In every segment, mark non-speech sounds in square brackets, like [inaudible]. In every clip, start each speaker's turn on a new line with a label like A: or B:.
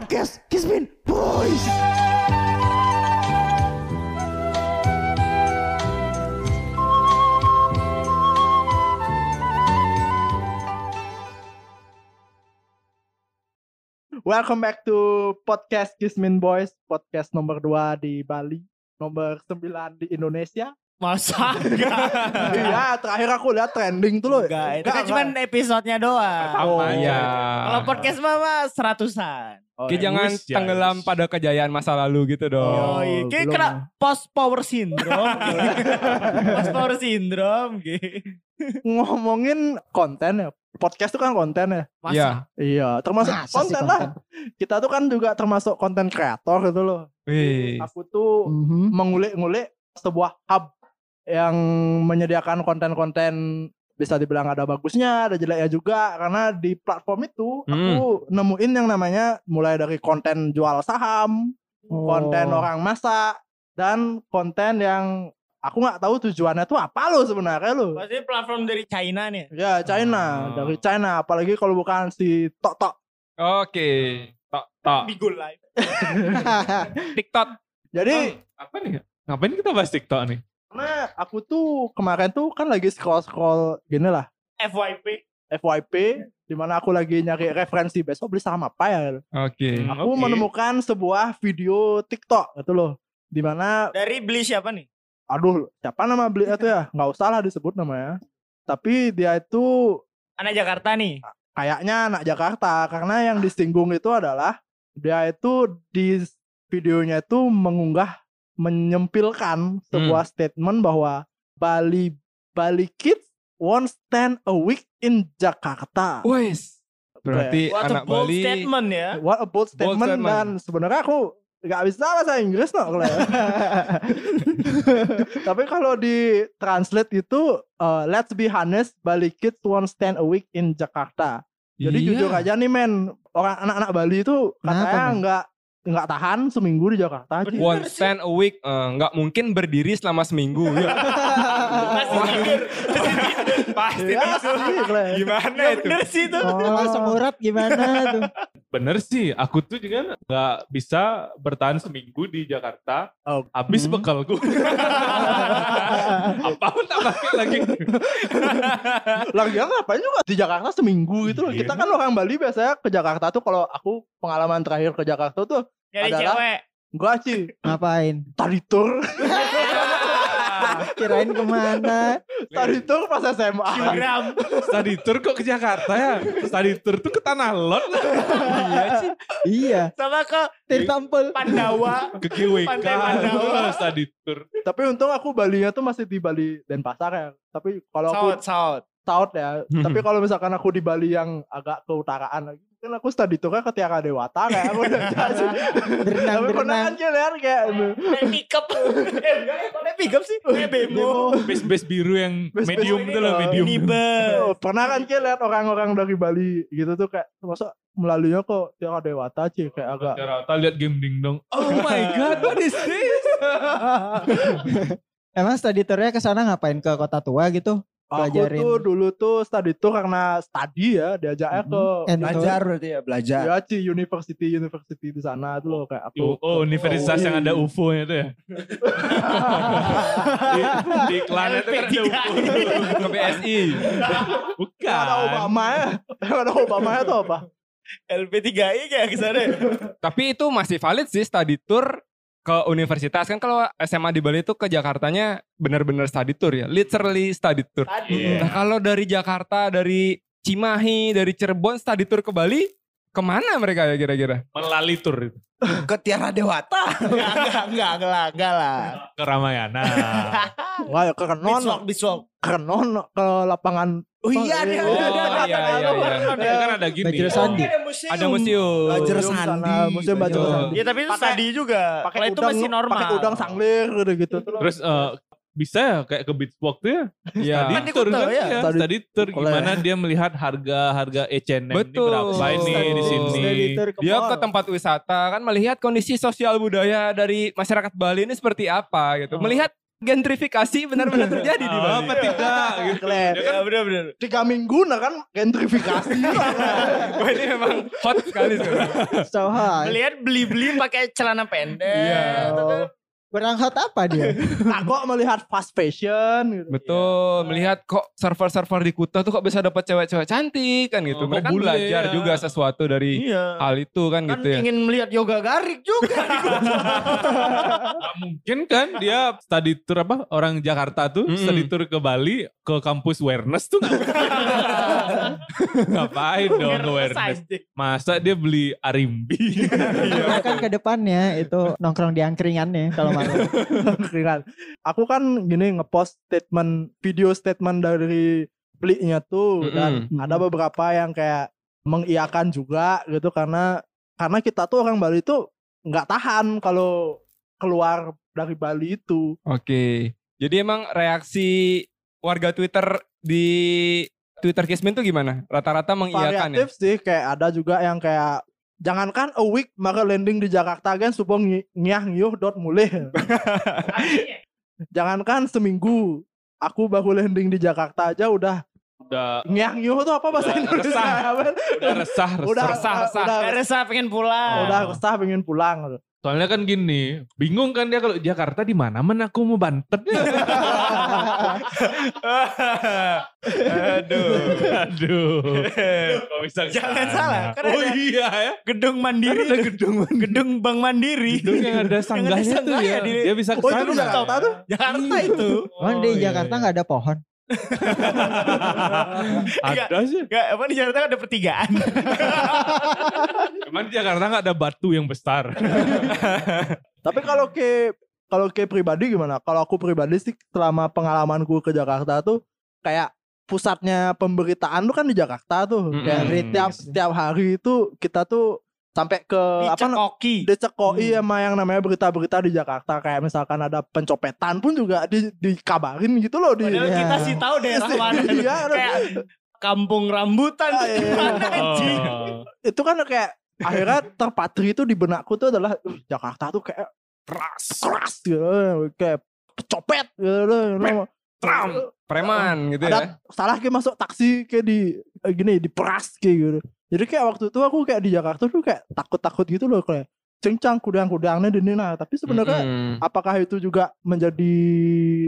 A: Kiss me, boys. Welcome back to podcast Kismin Boys, podcast nomor 2 di Bali, nomor 9 di Indonesia.
B: Masa enggak?
C: [laughs]
A: Iya, terakhir aku lihat trending tuh loh.
C: eh,
B: Enggak, itu kan
A: Enggak,
B: cuma
A: enggak.
B: episodenya doang.
A: Oh.
C: Iya.
B: Kalau podcast mah mah seratusan.
A: Oh,
C: Ki
A: ya.
C: jangan
D: Wis, ya, wis.
C: tenggelam pada kejayaan masa lalu gitu dong.
A: Oh,
B: Yoi, kayak
A: belum.
B: kena post power
C: [laughs]
B: syndrome. post power syndrome gitu.
A: ngomongin konten ya. Podcast tuh kan konten ya.
C: Iya.
B: Masa?
A: Iya, termasuk
D: Masa sih
A: konten lah. Kita tuh kan juga termasuk konten kreator gitu loh.
C: Wih.
A: Aku tuh
D: Mhm.
A: mengulik-ngulik sebuah hub yang menyediakan konten-konten bisa dibilang ada bagusnya, ada jeleknya juga karena di platform itu aku nemuin yang namanya mulai dari konten jual saham, konten
D: Oh.
A: orang masak dan konten yang aku nggak tahu tujuannya tuh apa lo sebenarnya lo.
B: Pasti platform dari China nih.
A: Ya China,
C: Ah.
A: dari China apalagi kalau bukan si Tok
D: [laughs]
A: Tok.
C: Oke. Tok tok.
B: Bigul Live.
C: TikTok.
A: Jadi
C: Apa nih? Ngapain kita bahas TikTok nih?
A: Karena aku tuh kemarin tuh kan lagi scroll scroll gini lah
B: FYP.
A: FYP dimana aku lagi nyari referensi besok beli saham apa ya gitu.
C: Hmm, Oke.
A: aku menemukan sebuah video TikTok gitu loh dimana
B: Dari beli siapa nih?
A: aduh siapa nama beli itu ya nggak usah lah disebut namanya tapi dia itu
B: Anak Jakarta nih.
A: kayaknya anak Jakarta karena yang disinggung itu adalah dia itu di videonya itu mengunggah menyempilkan sebuah statement bahwa Bali Bali Kids won't stand a week in Jakarta.
C: Wes. Berarti
B: What a
C: anak
B: bold
C: Bali.
B: statement
C: [laughs]
B: ya.
A: What a bold
C: Bold
A: statement,
C: statement.
A: dan sebenarnya aku nggak bisa bahasa Inggris no kalau ya. Tapi kalau di translate itu uh, let's be honest Bali Kids won't stand a week in Jakarta. Jadi
C: Iya.
A: jujur aja nih men, orang anak-anak Bali itu katanya
D: Kenapa, men?
A: nggak nggak tahan seminggu di Jakarta aja.
B: Bener.
C: One stand a week eh, nggak mungkin berdiri selama seminggu ya. [laughs]
B: Pasti tidur. Pasti
A: Ya, sih, Glenn.
C: Gimana itu?
B: Iya. Bener sih itu.
A: Oh.
D: Langsung urat gimana tuh?
E: Bener sih, aku tuh juga nggak bisa bertahan seminggu di Jakarta.
A: Oh.
E: Habis
A: Hmm.
E: bekal gue. Apapun tak pakai lagi.
A: Lagian ngapain juga di Jakarta seminggu gitu loh. Kita kan orang Bali biasanya ke Jakarta tuh kalau aku pengalaman terakhir ke Jakarta tuh
B: Nyari
A: Adalah-
C: [laughs]
B: cewek.
A: gua sih
D: Ngapain?
A: tadi tour,
D: Kirain kemana?
A: tadi tour pas SMA.
B: Curam.
E: Study tour kok ke Jakarta ya? Study tour tuh ke Tanah Lot lah.
D: iya,
B: Sama ke
D: Tirta Empul.
B: Pandawa.
E: Ke GWK.
B: Pantai Pandawa.
E: lah Study tour.
A: Tapi untung aku Balinya tuh masih di Bali Denpasar ya. Tapi kalau aku
B: Saut, saut.
A: south ya.
D: Hmm.
A: Tapi kalau misalkan aku di Bali yang agak keutaraan lagi, kan aku study tour ke Tiara Dewata kayak aku
D: [laughs]
A: udah jelasin.
D: Berenang,
A: Tapi pernah
D: berenang.
A: kan Julian kayak
B: Naik pick up. Eh, enggak, kok naik pick up sih? Naik bemo.
E: Base-base biru yang
A: Base-base
E: medium
A: ini
E: tuh loh,
A: loh.
E: medium.
B: Nibel.
A: pernah kan Ki lihat orang-orang dari Bali gitu tuh kayak masa melaluinya kok Tiara Dewata sih kayak agak
E: Jakarta lihat game dingdong.
C: Oh my god, what is this?
D: Emang study tournya ke sana ngapain ke kota tua gitu?
A: aku
D: Pelajarin.
A: tuh dulu tuh study tour karena study ya diajaknya ke
D: And tour.
B: berarti ya, belajar.
A: ya Ci, university university di sana tuh loh kayak aku
E: Oh, universitas yang ada UFO-nya tuh ya. di, di iklannya tuh kan ada UFO.
C: Ke BSI.
E: Iya
A: Yang ada
E: Bukan.
A: Obama ya Yang ada Obama ya tuh apa
B: LP3I kayak kesana ya?
C: Tapi itu masih valid sih study tour ke universitas kan kalau SMA di Bali itu ke Jakartanya benar-benar study tour ya, literally study tour.
B: Tadi.
E: Iya.
C: Nah, kalau dari Jakarta, dari Cimahi, dari Cirebon study tour ke Bali, kemana mereka ya kira-kira?
E: Melali tour itu.
B: Ke Tiara Dewata. Enggak, enggak, enggak, enggak lah, enggak lah.
E: ke Ramayana. Nah, [laughs]
A: wah ya ke Kenon
B: Beachwalk, beachwalk.
A: ke Kenon ke lapangan
B: Oh
A: Oh,
B: iya,
A: iya,
B: dia ada, ada,
C: iya,
B: ada,
C: iya,
B: ada.
E: Kan kan ada gini.
D: Bajro
E: ya.
D: Sandi.
C: Ada
B: Ada museum.
C: museum.
D: Bajro
A: Museum
D: Sandi.
A: sana, museum Bajro
C: Bajro.
A: Sandi
B: Ya tapi itu
A: Pakai-
B: tadi juga. Kalau
A: pakai
B: itu
A: udang
B: masih normal.
A: pakai udang sanglir gitu gitu
E: Terus eh, bisa ya kayak ke beach walk tuh ya.
C: Iya.
E: Study tour
B: Ikut
E: kan
B: tuh,
E: ya.
B: ya.
A: Study-
E: Study tour
A: Boleh.
E: gimana dia melihat harga-harga H&M ini
C: Betul.
E: berapa ini di sini. Iya,
D: Study tour ke
C: Dia
D: mall.
C: ke tempat wisata kan melihat kondisi sosial budaya dari masyarakat Bali ini seperti apa gitu. Melihat gentrifikasi benar-benar terjadi di Bali. Iya,
E: Ah, apa tidak gitu.
A: Keren.
E: Ya kan?
F: Ya benar-benar.
A: Tiga minggu nah kan gentrifikasi.
C: Wah, ini memang hot sekali sekarang.
D: So hot.
F: Melihat beli-beli pakai celana pendek.
C: Iya.
F: atau kan-
D: Kurang Gitu. hot apa dia?
E: [laughs]
A: Aku melihat fast fashion
C: [laughs]
A: gitu.
C: Betul, melihat kok server-server di Kuta tuh kok bisa dapat cewek-cewek cantik kan gitu.
E: Oh,
C: Mereka
E: kok bule,
C: belajar
E: ya.
C: juga sesuatu dari
F: Iya.
C: hal itu kan,
F: Kan
C: gitu ya.
F: ingin melihat yoga garik juga.
E: Nggak mungkin kan dia study tour apa orang Jakarta tuh
C: Mm-mm.
E: study tour ke Bali ke kampus awareness tuh nggak
D: [laughs]
E: mungkin. ngapain dong
F: Biar
E: awareness
F: selesai.
E: masa dia beli arimbi
D: Karena kan ke depannya itu nongkrong di angkringannya kalau mau.
A: Keringan. Aku kan gini ngepost statement video statement dari belinya tuh dan
D: Mm-mm.
A: ada beberapa yang kayak mengiakan juga gitu karena karena kita tuh orang Bali tuh nggak tahan kalau keluar dari Bali itu.
C: Oke. Jadi emang reaksi warga Twitter di Twitter Kismin tuh gimana? Rata-rata mengiyakan ya?
A: variatif sih kayak ada juga yang kayak jangankan a week maka landing di Jakarta kan supong ngi- ngiah ngiuh dot mulih jangankan seminggu aku baru landing di Jakarta aja udah
E: udah
A: ngiah ngiuh tuh apa bahasa
E: Udah
A: Indonesia ya kan?
E: resah.
A: Apa?
E: udah resah
A: udah
E: resah
C: resah, resah.
A: udah
F: Nggak resah pengen pulang.
A: udah resah pengen pulang gitu.
E: soalnya kan gini bingung kan dia kalau Jakarta di mana mana aku mau bantet
D: [laughs]
F: Aduh.
E: aduh kok bisa ke
F: Jangan salah,
E: sana?
F: karena
E: oh
F: ada-
E: iya ya
F: Gedung Mandiri. gedung Gedung Bank Mandiri.
E: Gedung yang ada sanggahnya tuh
F: sanggahnya
E: ya.
F: di-
E: Dia bisa ke
A: Oh, itu di Jakarta tuh?
F: Jakarta itu.
E: Oh,
D: Emang di
E: iya.
D: Jakarta nggak ada pohon.
E: ada sih.
F: Gak, apa di Jakarta kan ada pertigaan.
A: Eh,
E: Cuman di Jakarta nggak ada batu yang besar.
A: tapi kalau ke kalau ke pribadi gimana kalau aku pribadi sih selama pengalamanku ke Jakarta tuh kayak pusatnya pemberitaan tuh kan di Jakarta tuh
C: Mm-mm.
A: kayak setiap setiap hari itu kita tuh sampai ke apa na-
F: Dicekoki.
A: dicekoi sama yang namanya berita-berita di Jakarta kayak misalkan ada pencopetan pun juga di, dikabarin gitu loh di
F: Padahal
D: Iya.
F: kita sih tahu daerah
A: Iya,
F: mana.
A: iya.
F: Kayak kampung rambutan tuh
A: Ah, iya.
F: gimana anjing.
E: Oh.
A: itu kan kayak akhirnya terpatri itu di benakku tuh adalah "Uh, Jakarta tuh kayak keras keras gitu kayak copet gitu loh.
C: Trump. Preman gitu ya.
A: ada salah kayak masuk taksi kayak di eh, gini di peras kayak gitu jadi kayak waktu itu aku kayak di Jakarta tuh kayak takut-takut gitu loh kayak cincang kudang-kudangnya di nah tapi sebenarnya
C: Mm-mm.
A: apakah itu juga menjadi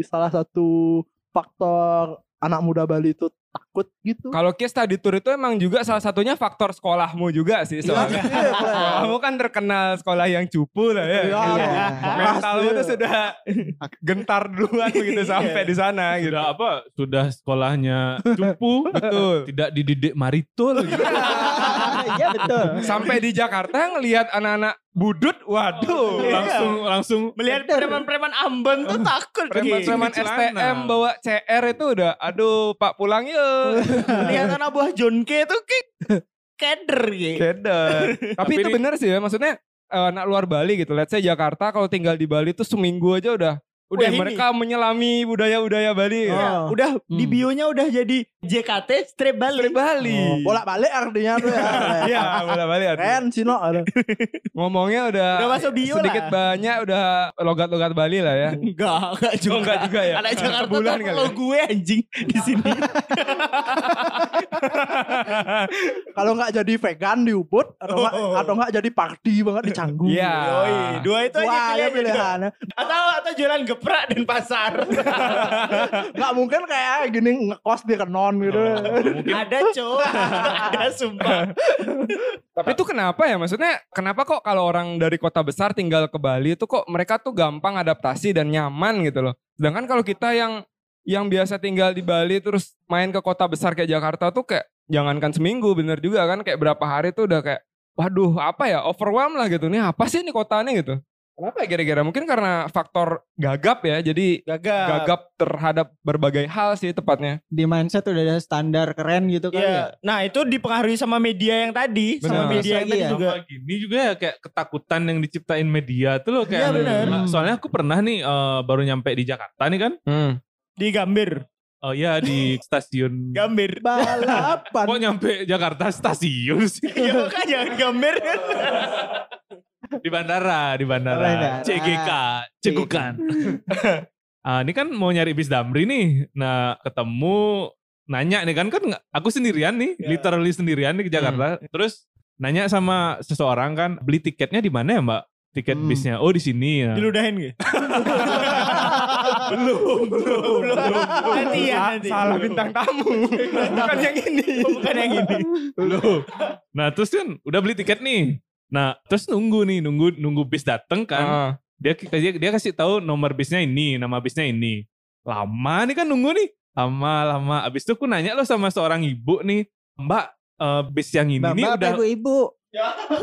A: salah satu faktor anak muda Bali itu takut gitu?
C: Kalau Kis tadi tour itu emang juga salah satunya faktor sekolahmu juga sih.
A: Iya,
C: Soalnya
A: iya,
C: kamu kan terkenal sekolah yang cupu lah [laughs] ya.
A: Iya.
C: Mentalmu
A: Pasti. Iya.
C: tuh sudah gentar duluan begitu sampai di sana gitu.
E: Sudah apa? Sudah sekolahnya cupu,
C: Betul.
E: tidak dididik maritul. Gitu.
D: Iya betul.
C: Sampai di Jakarta ngelihat anak-anak budut, waduh.
F: Iya.
E: langsung langsung
F: Melihat preman-preman amben tuh takut.
C: Preman-preman
E: Gini,
C: STM
E: celana.
C: bawa CR itu udah, aduh Pak pulang yuk.
F: Melihat anak buah John K tuh kayak
A: [laughs]
F: keder gitu.
C: Keder. Tapi
E: Tapi
C: itu
E: ini-
C: bener sih ya, maksudnya eh, anak luar Bali gitu. Let's say Jakarta kalau tinggal di Bali tuh seminggu aja udah udah
F: Udah ini.
C: mereka menyelami budaya-budaya Bali.
A: Oh.
C: gitu.
F: Udah di
E: Hmm.
F: bionya udah jadi JKT strip Bali.
C: Dari Bali.
A: bolak balik artinya tuh ya.
C: [laughs] Iya, bola Bali.
A: Oh,
C: ada.
A: Keren Cino ada.
C: Ngomongnya udah,
F: Udah masuk bio
C: sedikit
F: lah.
C: banyak udah logat-logat Bali lah ya.
F: Enggak, enggak juga.
C: Oh, enggak juga ya?
F: Anak Jakarta
C: Sebulan
F: tuh
C: kali
F: kalau
C: ya?
F: gue anjing di sini.
A: Kalau nggak jadi vegan di Ubud atau nggak
F: Oh.
A: atau nggak jadi party banget di Canggu.
C: Iya.
F: Yoi, dua itu aja
A: Wah, ya
F: pilihan.
A: pilihannya.
F: Atau atau jualan geprak dan pasar.
A: Nggak mungkin kayak gini ngekos di Renon gitu.
E: mungkin
F: ada, Cok. ada sumpah.
C: Tapi itu kenapa ya? Maksudnya kenapa kok kalau orang dari kota besar tinggal ke Bali itu kok mereka tuh gampang adaptasi dan nyaman gitu loh. Sedangkan kalau kita yang yang biasa tinggal di Bali terus main ke kota besar kayak Jakarta tuh kayak jangankan seminggu bener juga kan kayak berapa hari tuh udah kayak waduh apa ya overwhelm lah gitu nih apa sih ini kotanya gitu. Kenapa ya kira-kira? Mungkin karena faktor gagap ya. Jadi
F: Gagal.
C: gagap terhadap berbagai hal sih tepatnya.
D: Di mindset udah ada standar keren gitu kan. ya.
F: Iya. Nah, itu dipengaruhi sama media yang tadi, sama
C: Benar.
F: media yang
D: Lagi
F: tadi
D: ya.
F: juga.
E: Sama gini juga ya kayak ketakutan yang diciptain media tuh loh
F: Iya,
E: kayak.
F: bener.
E: Nah, soalnya aku pernah nih eh, baru nyampe di Jakarta nih kan.
C: Hmm.
F: Di Gambir.
E: Oh iya di stasiun.
F: Gambir.
A: Balapan.
E: Kok nyampe Jakarta stasiun sih?
F: [laughs] Iya kan jangan Gambir kan.
E: di bandara, di bandara.
D: Bandara.
E: CGK, cegukan. [laughs] ah, ini kan mau nyari bis Damri nih. Nah, ketemu nanya nih kan kan nggak- aku sendirian nih,
F: Ya.
E: literally sendirian nih ke Jakarta. Terus nanya sama seseorang kan beli tiketnya di mana ya, Mbak? Tiket
A: Hmm.
E: bisnya. Oh, di sini ya.
F: Diludahin gak? belum, belum, belum, belum. Nanti ya, nanti.
C: Salah bintang tamu. Bukan yang ini.
F: Bukan yang ini.
E: Loh. Nah, terus kan udah beli tiket nih. Nah, terus nunggu nih, nunggu nunggu bis dateng kan.
C: Ah.
E: dia dia, dia kasih tahu nomor bisnya ini, nama bisnya ini. Lama nih kan nunggu nih. Lama lama. Abis itu aku nanya lo sama seorang ibu nih, Mbak eh, bis yang ini nih udah
D: Bapak, ibu, ibu.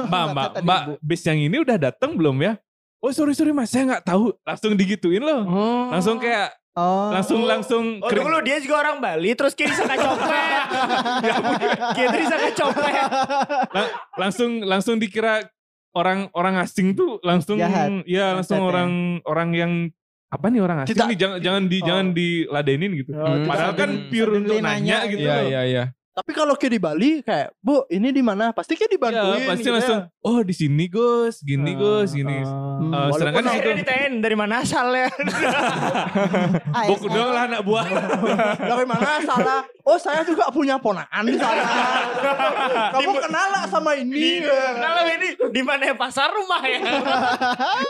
E: Mbak Mbak
D: kata dia,
E: Mbak
D: Bu.
E: bis yang ini udah datang belum ya? Oh sorry sorry mas saya nggak tahu. Langsung digituin loh.
C: Oh.
E: Langsung kayak
D: Oh.
E: langsung langsung
F: Oh
E: kering.
F: dulu dia juga orang Bali, terus kiri sangka copet. kiri sangka copet.
E: Kan langsung langsung dikira orang orang asing tuh langsung
D: Jahat.
E: ya langsung
D: Jahat, ya.
E: orang orang yang apa nih orang asing
A: Tidak.
E: nih jangan jangan di
A: Oh.
E: jangan diladenin gitu.
A: Oh,
C: Hmm.
A: tidak
E: Padahal
A: sadar.
E: kan
C: sambil-
E: pure
D: sambil
E: untuk
D: dia
E: nanya
D: nanya.
E: gitu
C: Iya,
E: loh.
C: iya, iya.
A: Tapi kalau ke di Bali kayak, Bu, ini di mana? Pasti kayak dibantuin.
E: Iya, pasti
A: gitu ya.
E: langsung, oh di sini Gus, gini Gus, gini.
A: Hmm,
E: Eh,
A: walaupun
E: sedangkan
A: aku-
E: itu
F: Akhirnya ditanyain dari mana asalnya.
D: ASN.
E: bok dong lah anak buah.
A: dari mana salah? Oh, saya juga punya ponakan di sana. Kamu kenal lah sama
E: Iya.
A: ini.
F: Kalau ini di mana ya pasar rumah ya.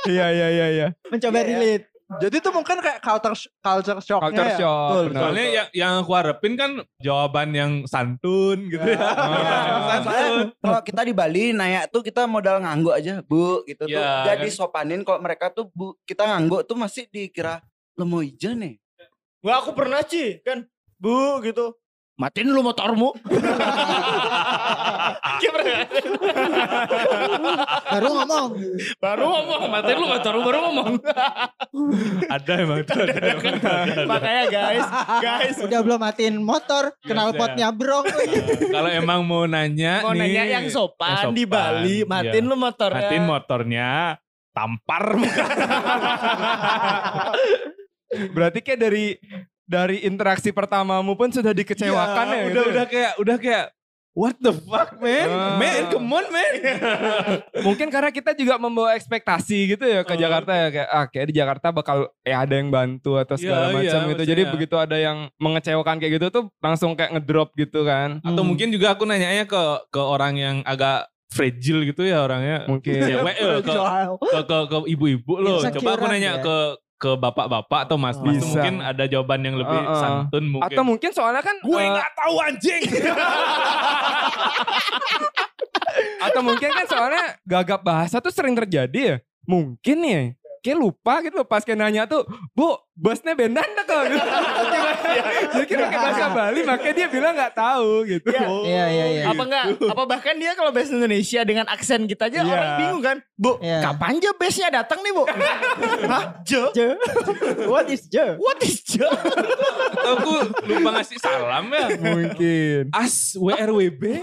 C: Iya, iya, iya, iya.
D: Mencoba relate.
A: Jadi tuh mungkin kayak culture culture ya. shock.
C: Culture shock.
A: Betul,
C: benar.
E: Soalnya yang, yang aku harapin kan jawaban yang
C: [laughs]
E: santun gitu ya.
C: Iya.
G: Soalnya kalau kita di Bali nanya tuh kita modal ngangguk aja bu gitu tuh.
E: Iya,
G: Jadi sopanin kalau mereka tuh bu kita ngangguk tuh masih dikira lemo ijo nih.
F: Wah aku pernah Ci, kan. Bu gitu. Matiin lu motormu. Dia pernah nggak?
D: Baru ngomong.
F: baru ngomong, matiin lu motormu baru ngomong.
E: Ada emang. Ada, emang, ada, ada.
F: Makanya guys, guys.
D: Udah belum matiin motor. Kenal
E: Iya,
D: potnya brong.
E: Kalau emang mau nanya
F: Mau
E: nih,
F: nanya yang sopan,
E: yang
F: di
E: sopan, iya.
F: Bali, matiin lu motornya.
E: matiin motornya, tampar.
C: Berarti kayak dari dari interaksi pertamamu pun sudah dikecewakan ya.
E: Iya,
C: gitu
E: udah
C: ya?
E: udah kayak udah kayak what the fuck man?
C: Ah.
E: Man, come on man.
C: Mungkin karena kita juga membawa ekspektasi gitu ya ke Jakarta ya kayak ah kayak di Jakarta bakal ya ada yang bantu atau segala
E: Iya, iya,
C: macam gitu. Jadi
E: maksudnya.
C: begitu ada yang mengecewakan kayak gitu tuh langsung kayak ngedrop gitu kan.
E: [laughs] Atau
D: Hmm.
E: mungkin juga aku nanyanya ke ke orang yang agak fragile gitu ya orangnya.
C: Mungkin
E: Cewek eh, ke
D: [laughs]
E: ke ke, ke ibu-ibu loh. Coba aku
D: Insecurean
E: nanya
D: ya.
E: ke ke bapak-bapak atau mas-mas
C: Bisa.
E: tuh mungkin ada jawaban yang lebih
C: Uh-uh.
E: santun mungkin.
C: atau mungkin soalnya kan
E: gue
C: eh,
E: nggak tahu anjing.
C: atau mungkin kan soalnya gagap bahasa tuh sering terjadi ya. Mungkin nih kayak lupa gitu loh pas kayak nanya tuh bu busnya bendan dah kok gitu. jadi kayak pakai bahasa Bali makanya dia bilang nggak tahu gitu
F: Iya.
D: Iya, iya, iya.
F: apa enggak apa bahkan dia kalau bahasa Indonesia dengan aksen kita aja
C: Iya.
F: orang bingung kan bu
D: Iya.
F: kapan aja base-nya datang
E: [laughs]
F: nih bu hah je
D: What is Joe?
F: what is je
E: atau aku lupa ngasih salam ya.
C: mungkin
E: As WRWB.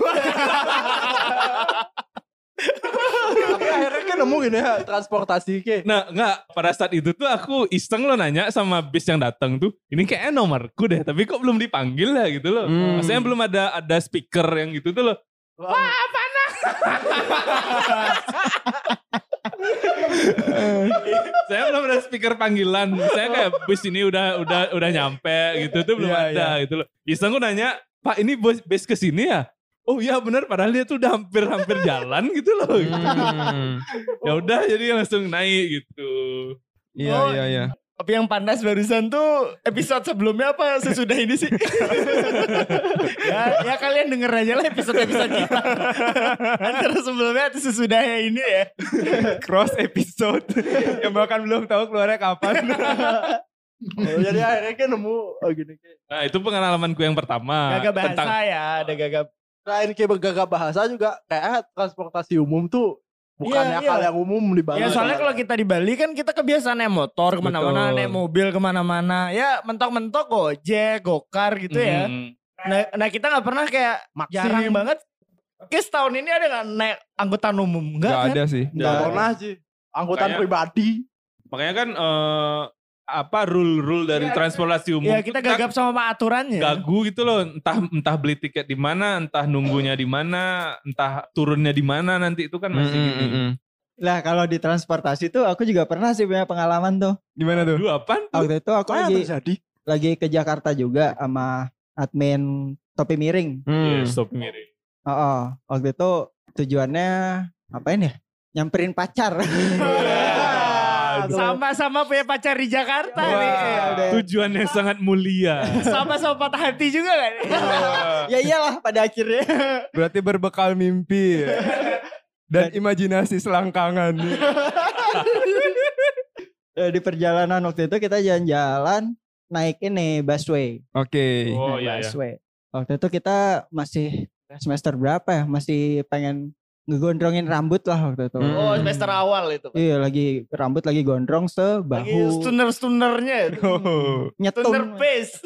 A: Tapi akhirnya kan nemu gini ya transportasi ke.
E: Nah, enggak pada saat itu tuh aku iseng lo nanya sama bis yang datang tuh, ini kayaknya nomorku deh, tapi kok belum dipanggil ya gitu loh.
C: Hmm.
E: Maksudnya belum ada ada speaker yang gitu tuh loh. [laughs] Saya belum ada speaker panggilan. Saya kayak bis ini udah udah udah nyampe gitu tuh belum
C: Iya,
E: ada gitu loh. Iseng gue nanya, "Pak, ini bus bis ke sini ya?" Oh iya benar padahal dia tuh udah hampir-hampir jalan gitu loh.
C: Hmm.
E: [laughs] Ya udah jadi langsung naik gitu.
C: Iya
F: Oh,
C: iya iya.
F: tapi yang panas barusan tuh episode sebelumnya apa sesudah ini
C: [laughs]
F: sih ya, ya kalian denger aja lah episode episode kita antara sebelumnya atau sesudahnya ini ya
C: Cross episode yang bahkan belum tahu keluarnya kapan.
A: Oh, Jadi akhirnya kan nemu oh, gini ke.
E: Nah, itu pengalamanku yang
C: Ah,
E: pertama
F: gagap bahasa
E: tentang
F: ya ada gagap
A: Selain ke bergagap bahasa juga kayak ah, transportasi umum tuh bukannya
F: Iya,
A: hal
F: iya.
A: yang umum di Bali.
F: Ya soalnya kalau kita di Bali kan kita kebiasaan naik motor kemana-mana,
C: Betul.
F: naik mobil kemana-mana. Ya mentok-mentok gojek, gokar gitu ya.
E: Mm.
F: Nah, nah kita nggak pernah kayak
A: Maxim.
F: jarang banget. Kayak setahun ini ada nggak naik angkutan umum? Nggak
C: Gak
F: kan?
C: ada sih.
A: nggak
D: Nah,
E: Iya.
A: pernah sih. Angkutan
E: Kayak-
A: pribadi.
E: Makanya kan eh, apa rule-rule dari transportasi umum
F: Ya
E: tuh
F: kita
E: kita
F: gagap sama aturannya.
E: gagu gitu loh entah entah beli tiket di mana entah nunggunya di mana entah turunnya di mana nanti itu kan masih
C: Mm, mm,
E: gini
C: mm, mm.
D: Lah kalau di transportasi tuh aku juga pernah sih punya pengalaman tuh.
C: Gimana tuh?
E: Dua apaan?
D: Waktu itu aku
A: Apa yang
D: lagi
A: terjadi?
D: lagi ke Jakarta juga sama admin topi miring.
C: Hmm.
E: Ya, stop miring.
D: Oh, waktu itu tujuannya apain ya? Nyamperin pacar.
F: Sama-sama punya pacar di Jakarta nih.
D: Iya, udah. [laughs]
E: Tujuan yang sangat mulia.
F: Sama-sama patah hati juga kan?
D: ya iyalah pada akhirnya. [laughs]
C: Berarti berbekal mimpi ya. dan imajinasi selangkangan.
D: Eh, di perjalanan waktu itu kita jalan-jalan naik ini busway.
C: Oke.
E: Oh
D: Naik
E: iya ya.
D: busway. Nah, Waktu itu kita masih semester berapa ya? Masih pengen ngegondrongin rambut lah waktu itu.
C: Hmm.
F: Oh semester awal itu. Pak.
D: Iya lagi rambut lagi gondrong
F: Lagi
D: sebahu
F: Iya, stunner-stunnernya itu.
C: [laughs] Oh.
F: Stunner
D: nyetum.
F: pace.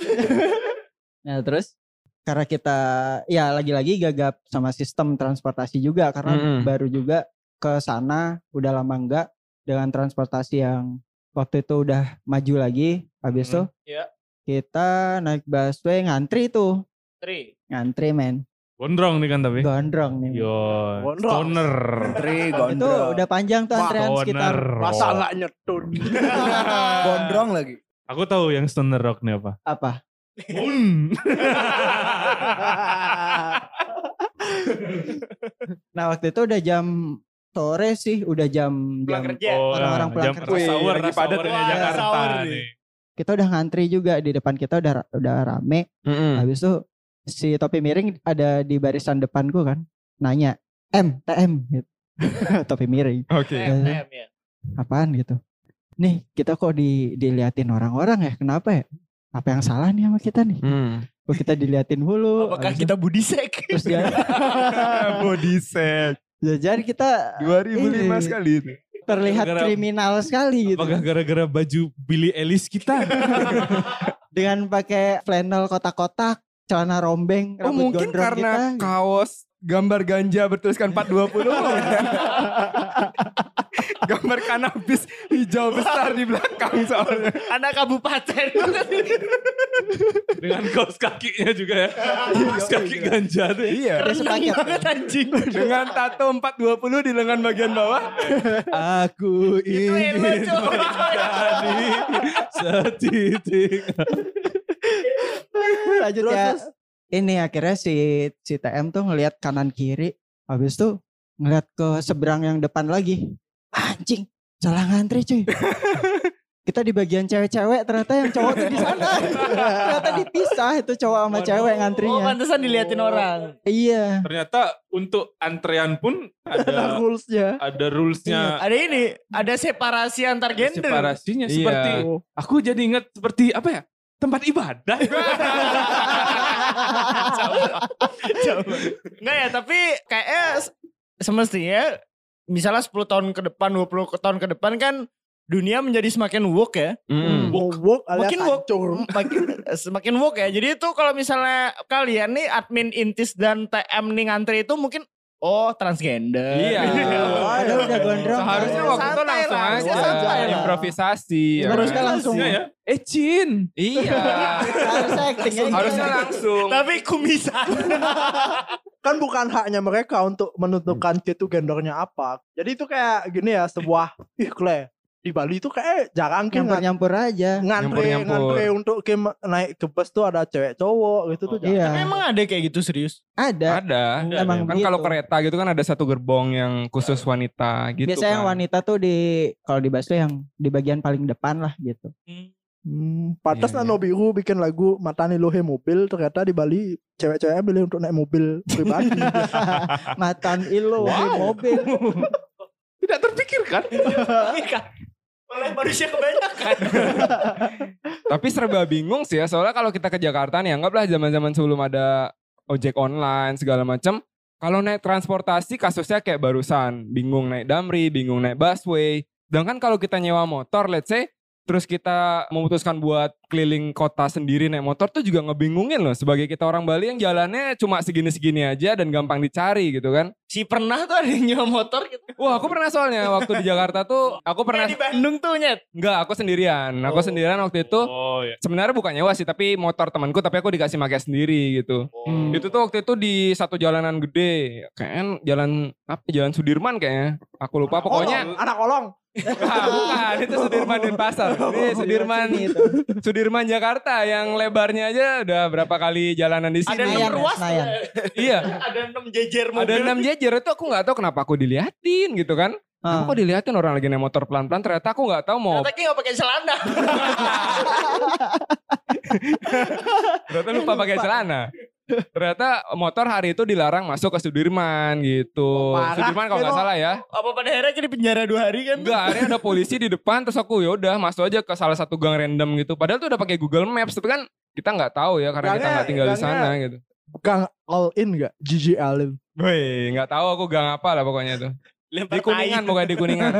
D: Nah terus karena kita ya lagi-lagi gagap sama sistem transportasi juga karena
C: Mm-mm.
D: baru juga ke sana udah lama enggak dengan transportasi yang waktu itu udah maju lagi habis itu
F: iya.
D: kita naik busway ngantri tuh
F: Tri.
D: ngantri men
E: Gondrong nih kan tapi.
D: gondrong nih
E: Yo,
A: Gondrong.
E: stoner.
H: Tri
D: itu
H: gondrong.
D: udah Oh. panjang tuh
H: Wah,
D: antrean sekitar
E: Stoner.
A: Masa nggak
D: [laughs]
A: nyetun?
H: gondrong lagi.
E: Aku tahu yang stoner rock nih apa.
D: apa
E: Un.
D: nah waktu itu udah jam sore sih udah jam jam
F: Pulang kerja.
E: Oh,
D: Orang-orang pulang
E: jam
D: kerja.
E: rush hour,
C: Wih, lagi
E: rush
C: padat
E: hour
F: nih
E: di
F: Jakarta
E: Jakarta
F: hour nih.
E: nih.
D: kita udah ngantri juga di depan kita udah udah rame
C: Mm-mm.
D: Habis itu si topi miring ada di barisan depanku kan. Nanya, M, TM gitu. [laughs] topi miring.
C: Oke.
F: TM, TM, ya.
D: Apaan gitu. Nih kita kok di, diliatin orang-orang ya kenapa ya? Apa yang salah nih sama kita nih?
C: Hmm.
D: Kok kita diliatin
C: Oh,
D: mulu.
F: Apakah
D: habis itu-
F: kita budisek?
D: Terus dia,
C: Body set
D: ya jadi kita
C: 2005
D: Ini.
C: sekali itu.
D: terlihat
E: Gara-gara-
D: kriminal sekali gitu.
E: Apakah gara-gara baju Billy Ellis kita?
D: Dengan pakai flannel kotak-kotak, celana rombeng, rambut
C: Oh, mungkin
D: gondrong
C: karena
D: kita.
C: kaos gambar ganja bertuliskan 420. gambar kanabis hijau besar di belakang soalnya.
F: [laughs] Anak kabupaten.
E: Dengan kaos kakinya juga ya. Kaos kaki ganja tuh.
C: iya.
E: ya.
D: Dia sepaket.
F: Banget anjing.
C: Dengan tato 420 di lengan bagian bawah. Gitu ya,
E: Aku
C: Iya.
F: Itu elo
E: ingin
F: coy.
E: tadi setitik.
D: lanjut ya. Ini akhirnya si si TM tuh ngelihat kanan kiri, habis tuh ngelihat ke seberang yang depan lagi. Anjing, salah ngantri cuy.
C: [laughs]
D: Kita di bagian cewek-cewek ternyata yang cowok tuh di
C: [laughs]
D: sana. ternyata dipisah itu cowok sama
E: Waduh.
D: cewek
F: Oh
C: Iya.
D: ngantrinya.
F: pantesan diliatin orang.
D: iya.
E: Ternyata untuk antrean pun ada
A: Rules-nya.
E: ada rulesnya
F: Iya, Ada ini, ada separasi antar gender. [laughs]
E: separasinya
C: Iya.
E: seperti aku jadi ingat seperti apa ya tempat ibadah
F: Enggak ya, tapi kayaknya s- semestinya misalnya 10 tahun ke depan, 20 ke- tahun ke depan kan dunia menjadi semakin woke ya.
A: Woke. Woke alias
F: Makin woke.
A: hancur.
F: Makin, [laughs] semakin woke ya. Jadi itu kalau misalnya kalian nih admin Intis dan TM nih ngantri itu mungkin oh transgender. [laughs]
C: Iya.
D: Waduh, udah gondrong.
C: Seharusnya
F: Santai
C: waktu itu
F: lah,
C: langsung
F: harusnya
C: aja
F: santai lah.
C: improvisasi. ya
D: Harusnya
C: kan?
D: langsung.
E: Iya ya eh Cin
C: Iya.
D: Harusnya actingnya gitu.
C: Harusnya langsung.
F: Tapi kumisan.
A: kan bukan haknya mereka untuk
D: Hmm.
A: menentukan itu gendernya apa. Jadi itu kayak gini ya sebuah ih Kle, di Bali itu kayak jarang kan ngantri
D: nyampur-nyampur aja.
A: ngantri,
C: Nyampur-nyampur.
A: untuk game naik ke bus tuh ada cewek cowok gitu tuh. jarang.
D: Iya.
F: Tapi emang ada kayak gitu serius.
D: Ada.
C: Ada.
D: Emang
C: Kan
D: gitu. Iya.
C: kalau kereta gitu kan ada satu gerbong yang khusus wanita gitu
D: Biasanya yang
C: kan.
D: wanita tuh di kalau di busway yang di bagian paling depan lah gitu.
A: Hmm, pantas
C: Iya, iya.
A: Nano Biru bikin lagu Matani Lohe Mobil ternyata di Bali cewek-ceweknya milih untuk naik mobil pribadi.
C: [laughs]
D: Matan ilo di mobil.
E: tidak
F: [laughs]
E: terpikirkan
F: Iya. Oleh manusia kebanyakan.
C: Tapi serba bingung sih ya. Soalnya kalau kita ke Jakarta nih anggaplah zaman-zaman sebelum ada ojek online segala macam. Kalau naik transportasi kasusnya kayak barusan, bingung naik Damri, bingung naik busway. Sedangkan kalau kita nyewa motor, let's say terus kita memutuskan buat keliling kota sendiri naik motor tuh juga ngebingungin loh sebagai kita orang Bali yang jalannya cuma segini-segini aja dan gampang dicari gitu kan.
B: Si pernah tuh ada yang nyewa motor gitu.
C: Wah, aku pernah soalnya waktu di Jakarta tuh aku pernah
B: Kayak di Bandung tuh nyet.
C: enggak, aku sendirian. Aku
B: Oh.
C: sendirian waktu itu
E: Oh iya.
C: sebenarnya bukan nyewa sih tapi motor temanku tapi aku dikasih pakai sendiri gitu
B: Oh.
C: itu tuh waktu itu di satu jalanan gede kayaknya jalan apa jalan Sudirman kayaknya aku lupa
B: Oh. [laughs]
C: pokoknya
A: Kolong, "Oh, anak kolong.
C: Ah, bukan itu Sudirman Denpasar
B: Oh,
C: ini Sudirman
B: iya
C: Sudirman Jakarta yang lebarnya aja udah berapa kali jalanan di sini
B: Ada enam
D: Senayan,
B: ruas.
D: Senayan.
B: tuh, eh.
C: iya
B: Ada enam jejer mobil.
C: ada enam jejer itu aku nggak tahu kenapa aku diliatin gitu kan
D: Ah.
C: aku diliatin orang lagi naik motor pelan-pelan ternyata aku nggak tahu mau
B: Ternyata Ki nggak pakai celana.
C: Ternyata lupa pakai celana. Ternyata motor hari itu dilarang masuk ke Sudirman gitu.
A: Oh, parah.
C: Sudirman kalau nggak
A: Emang.
C: salah ya.
B: Apa pada akhirnya Ki di penjara dua hari kan?
C: Enggak, akhirnya ada polisi di depan terus aku ya udah masuk aja ke salah satu gang random gitu. Padahal tuh udah pakai Google Maps tapi kan kita nggak tahu ya karena kita
A: Gangnya-
C: nggak tinggal di
A: gangnya-
C: sana gitu.
A: Gang all in gak? GGL in.
C: Woi, nggak tahu aku gang apa lah pokoknya tuh.
B: Lempar
C: Di Kuningan
B: tai.
C: pokoknya di Kuningan.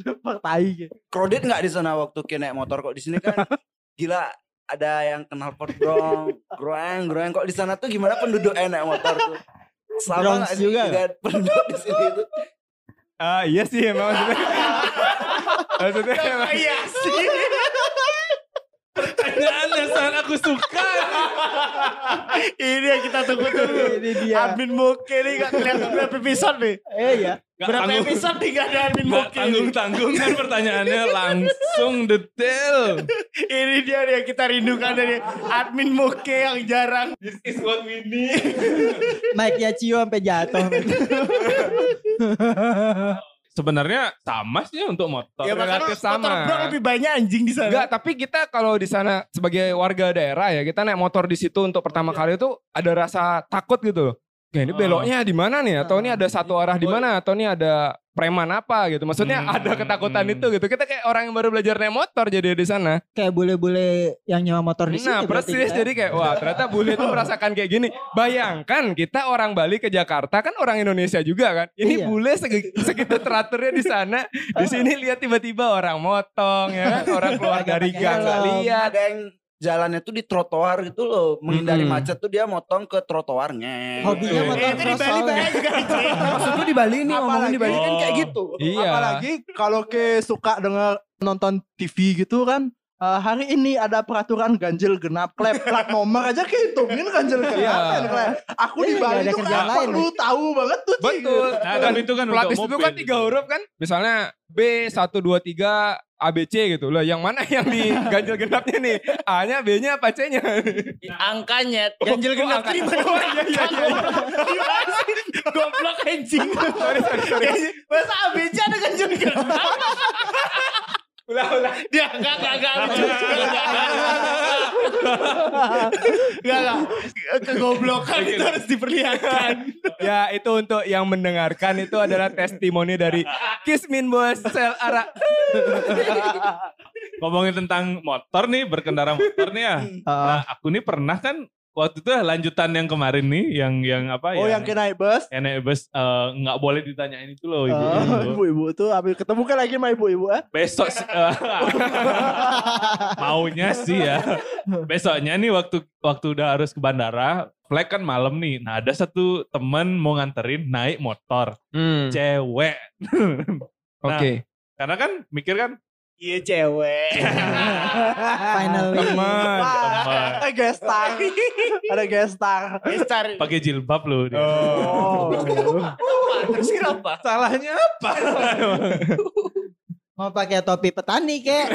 A: Depak tai gitu.
F: Crowded nggak di sana waktu kayak naik motor kok di sini
B: [laughs]
F: kan gila ada yang kenal pot dong, groeng groeng kok di sana tuh gimana penduduknya naik motor tuh? Sama nggak sih juga penduduk di sini itu?
C: Ah iya sih
F: [laughs]
C: emang maksudnya. maksudnya emang-
B: Iya sih.
E: Pertanyaannya saat aku suka.
B: Ini yang kita tunggu-tunggu.
D: Ini
F: Iya.
D: dia.
B: Admin Moke nih gak kelihatan berapa episode nih.
D: Eh ya.
E: Gak
B: berapa
E: tanggung,
B: episode nih gak ada admin
E: gak
B: Moke. nih.
E: tanggung-tanggung kan pertanyaannya langsung detail.
B: Ini dia nih yang kita rindukan dari admin Moke yang jarang. This is what we need.
D: Mike Yachio sampai jatuh.
E: Sebenarnya sama sih untuk motor.
B: ya makanya
C: relatif sama.
B: motor bro lebih banyak anjing di sana.
C: Enggak, tapi kita kalau di sana sebagai warga daerah ya, kita naik motor di situ untuk
D: Iya.
C: pertama kali itu ada rasa takut gitu loh.
D: Oh.
C: Ya ini
E: Ah.
C: beloknya di mana nih? Atau ini ada satu arah di mana? Atau ini ada preman apa gitu? Maksudnya
E: Hmm,
C: ada ketakutan
E: hmm.
C: itu gitu. Kita kayak orang yang baru belajar naik motor jadi di sana.
D: Kayak bule-bule yang nyewa motor di sini.
C: Nah
D: berarti ya?
C: persis
D: kita.
C: jadi kayak wah ternyata bule itu merasakan kayak gini. Bayangkan kita orang Bali ke Jakarta kan orang Indonesia juga kan. Ini
D: Iya.
C: bule segi- segitu teraturnya di sana, di sini lihat tiba-tiba orang motong ya, kan? orang keluar
D: Agak
C: dari
D: pakai
C: gang nggak
D: helm.
C: lihat.
F: Ada yang jalannya tuh di trotoar gitu loh, menghindari
C: Mm-mm.
F: macet tuh dia motong ke trotoarnya. Gitu.
D: Hobinya
E: Betul.
B: Eh,
D: motor
B: itu di
D: cross
B: Bali
D: soalnya.
B: banyak juga anjing.
F: Maksudnya di Bali nih, ngomongin di Bali kan kayak
E: Oh.
F: gitu.
C: Iya.
A: Apalagi kalau ke suka dengar nonton TV gitu kan. eh, hari ini ada peraturan ganjil genap klep plat nomor aja kehitungin ganjil
C: Iya.
A: genap ya, klep. Aku di
D: Iya,
A: Bali
D: nggak ada
A: itu
D: kerjaan
A: kenapa
D: lain.
A: lu tahu banget tuh Ci.
C: Betul. [laughs]
E: Nah, tapi itu kan
C: pelatih
E: untuk
C: itu
E: mobil
C: kan tiga
E: gitu.
C: huruf kan. Misalnya B 1 2 3 ABC gitu. Lah yang mana yang di ganjil genapnya nih? A-nya, B-nya apa C-nya?
B: Angkanya ganjil genap
C: angka.
B: tadi mana
C: Oh,
B: orang
C: iya, iya,
B: angka, goblok. Gimana sih? Goblok anjing. Ganjil- Masa ABC ada ganjil genap?
C: Ulah ulah.
B: Dia enggak enggak enggak lucu. Enggak, Enggak enggak. Kegoblokan itu harus diperlihatkan.
C: Ya itu untuk yang mendengarkan itu adalah testimoni dari Kismin Bos Sel Ara.
E: Ngomongin tentang motor nih, berkendara motor nih ya.
A: Hmm. Eh,
D: Ah,
E: Nah, aku nih pernah kan waktu itu lanjutan yang kemarin nih, yang yang
C: Iya.
E: apa ya,
A: Oh yang kena bus.
E: yang naik bus eh, nggak boleh ditanyain itu loh ibu.
A: Oh, Ibu-ibu tuh habis ketemu kan lagi sama ibu-ibu eh.
E: Besok sih, eh, maunya sih ya. Besoknya nih waktu waktu udah harus ke bandara, flag kan malam nih. Nah ada satu temen mau nganterin naik motor,
C: Hmm. [laughs]
E: cewek. Nah,
C: Oke.
E: Karena kan mikir kan,
B: Iya cewek.
D: Ah. finally.
E: "Ah,
C: Teman.
A: Wah, ada guest star. Ada guest star.
B: Besar.
E: pakai jilbab loh. dia.
A: Oh.
B: Terus kenapa?
E: Salahnya apa?
D: Mau pakai topi petani kek.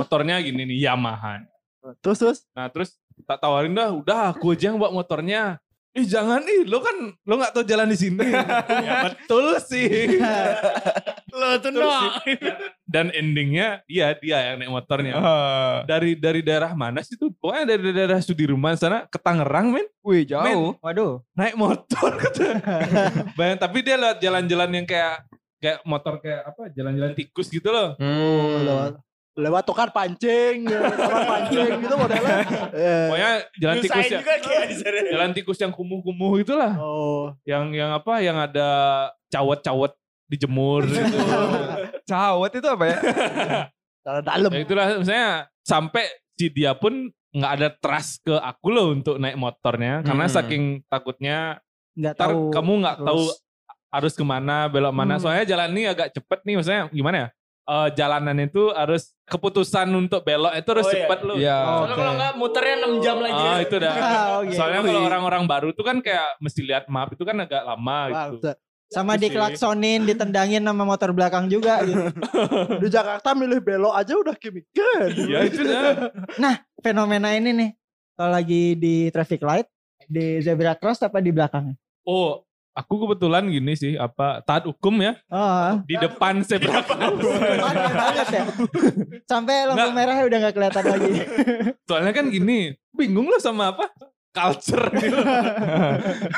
E: Motornya gini nih Yamaha.
A: [laughs] Terus terus.
E: Nah terus tak tawarin dah, udah aku aja yang bawa motornya. Ih jangan ih, lo kan lo nggak tahu jalan di
B: [laughs]
E: sini. ya betul sih.
B: Lo tuh
E: Terus
B: no.
E: Dan endingnya, iya dia yang naik motornya.
C: Ah.
E: Dari dari daerah mana sih tuh? Pokoknya dari daerah Sudirman sana ke Tangerang men.
C: Wih
E: Men,
C: jauh.
D: Waduh.
E: naik motor [laughs] kata. Bayang tapi dia lewat jalan-jalan yang kayak kayak motor kayak apa jalan-jalan tikus gitu loh.
C: Hmm.
A: Lewat, lewat tukar pancing, ya, tukar pancing gitu modelnya. Eh,
E: Pokoknya jalan tikus ya,
B: Nyusahin
E: yang
B: juga kayak di sana.
E: jalan tikus yang kumuh-kumuh itulah.
A: Oh,
E: Yang yang apa yang ada cawet-cawet dijemur gitu.
C: Cawet itu apa ya?
A: Dalam dalam.
E: Ya, itulah misalnya sampai si dia pun nggak ada trust ke aku loh untuk naik motornya karena
B: Hmm.
E: saking takutnya
D: nggak
E: ntar
D: tahu
E: kamu nggak tahu
D: terus.
E: harus kemana belok mana
D: Hmm.
E: soalnya jalan ini agak cepet nih maksudnya gimana ya Eh jalanan itu harus keputusan untuk belok itu harus
B: Oh, iya.
E: cepet loh
C: Iya.
B: Soalnya kalau nggak muternya 6 jam lagi. ya.
E: Ah, itu
F: [laughs]
E: dah
F: Iya.
D: Ah, oke.
E: soalnya kalau orang-orang baru tuh kan kayak mesti lihat map itu kan agak lama
A: Wah,
E: gitu
A: se-
D: sama
E: Itu sih.
D: dikelaksonin ditendangin sama motor belakang juga gitu.
A: Di Jakarta milih belok aja udah kemikiran.
E: [laughs] Iya itu dah.
D: fenomena ini nih kalau lagi di traffic light di zebra cross apa di belakangnya
E: Oh, aku kebetulan gini sih apa taat hukum ya
D: oh
E: [laughs] di depan zebra cross.
D: aneh banget ya sampai lampu
E: Nggak.
D: merahnya udah nggak kelihatan lagi
E: Soalnya kan gini, bingung lo sama apa? Culture gitu.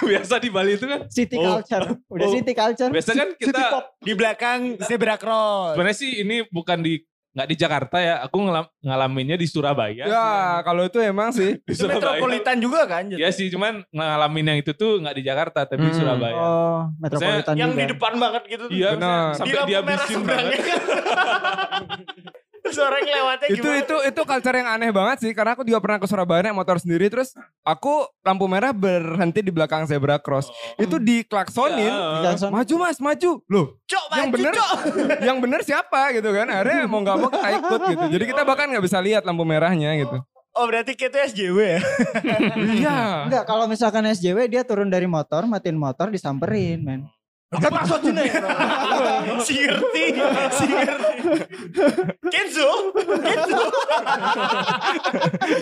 E: Biasa di Bali itu kan,
D: city
E: Oh.
D: culture udah
E: Oh.
D: city culture
E: biasa kan kita
B: Di belakang zebra cross.
E: sebenarnya sih ini bukan di nggak di Jakarta ya, aku ngelam- ngalaminnya di Surabaya.
C: ya, kalau itu emang sih.
E: Di
B: Itu
E: Surabaya.
B: metropolitan juga kan. Jod?
E: Ya sih, cuman ngalamin yang itu tuh nggak di Jakarta, tapi di
C: Hmm.
E: Surabaya.
D: oh metropolitan
B: yang
D: juga
B: di depan banget gitu. tuh.
E: Iya,
C: Benar.
E: misalnya
B: Di
E: sampai
B: lampu
E: dia
B: merah
E: bisin
B: seberangnya. [laughs] Terus orang lewatnya
C: itu
B: gimana?
C: itu itu culture yang aneh banget sih karena aku juga pernah ke Surabaya naik motor sendiri terus aku lampu merah berhenti di belakang zebra cross.
B: Oh.
C: Itu diklaksonin.
E: Ya.
D: Jackson.
C: Maju Mas, maju. Loh,
B: Cok,
C: yang
B: maju,
C: bener
B: Cok.
C: [laughs] yang bener siapa gitu kan akhirnya mau nggak mau kita ikut gitu jadi kita bahkan nggak bisa lihat lampu merahnya gitu
B: Oh, berarti kita SJW ya?
C: iya
D: Enggak, kalau misalkan SJW dia turun dari motor, matiin motor, disamperin,
E: Hmm.
D: men.
A: Kan maksudnya
B: si ngerti, si ngerti. Kenzo, Kenzo.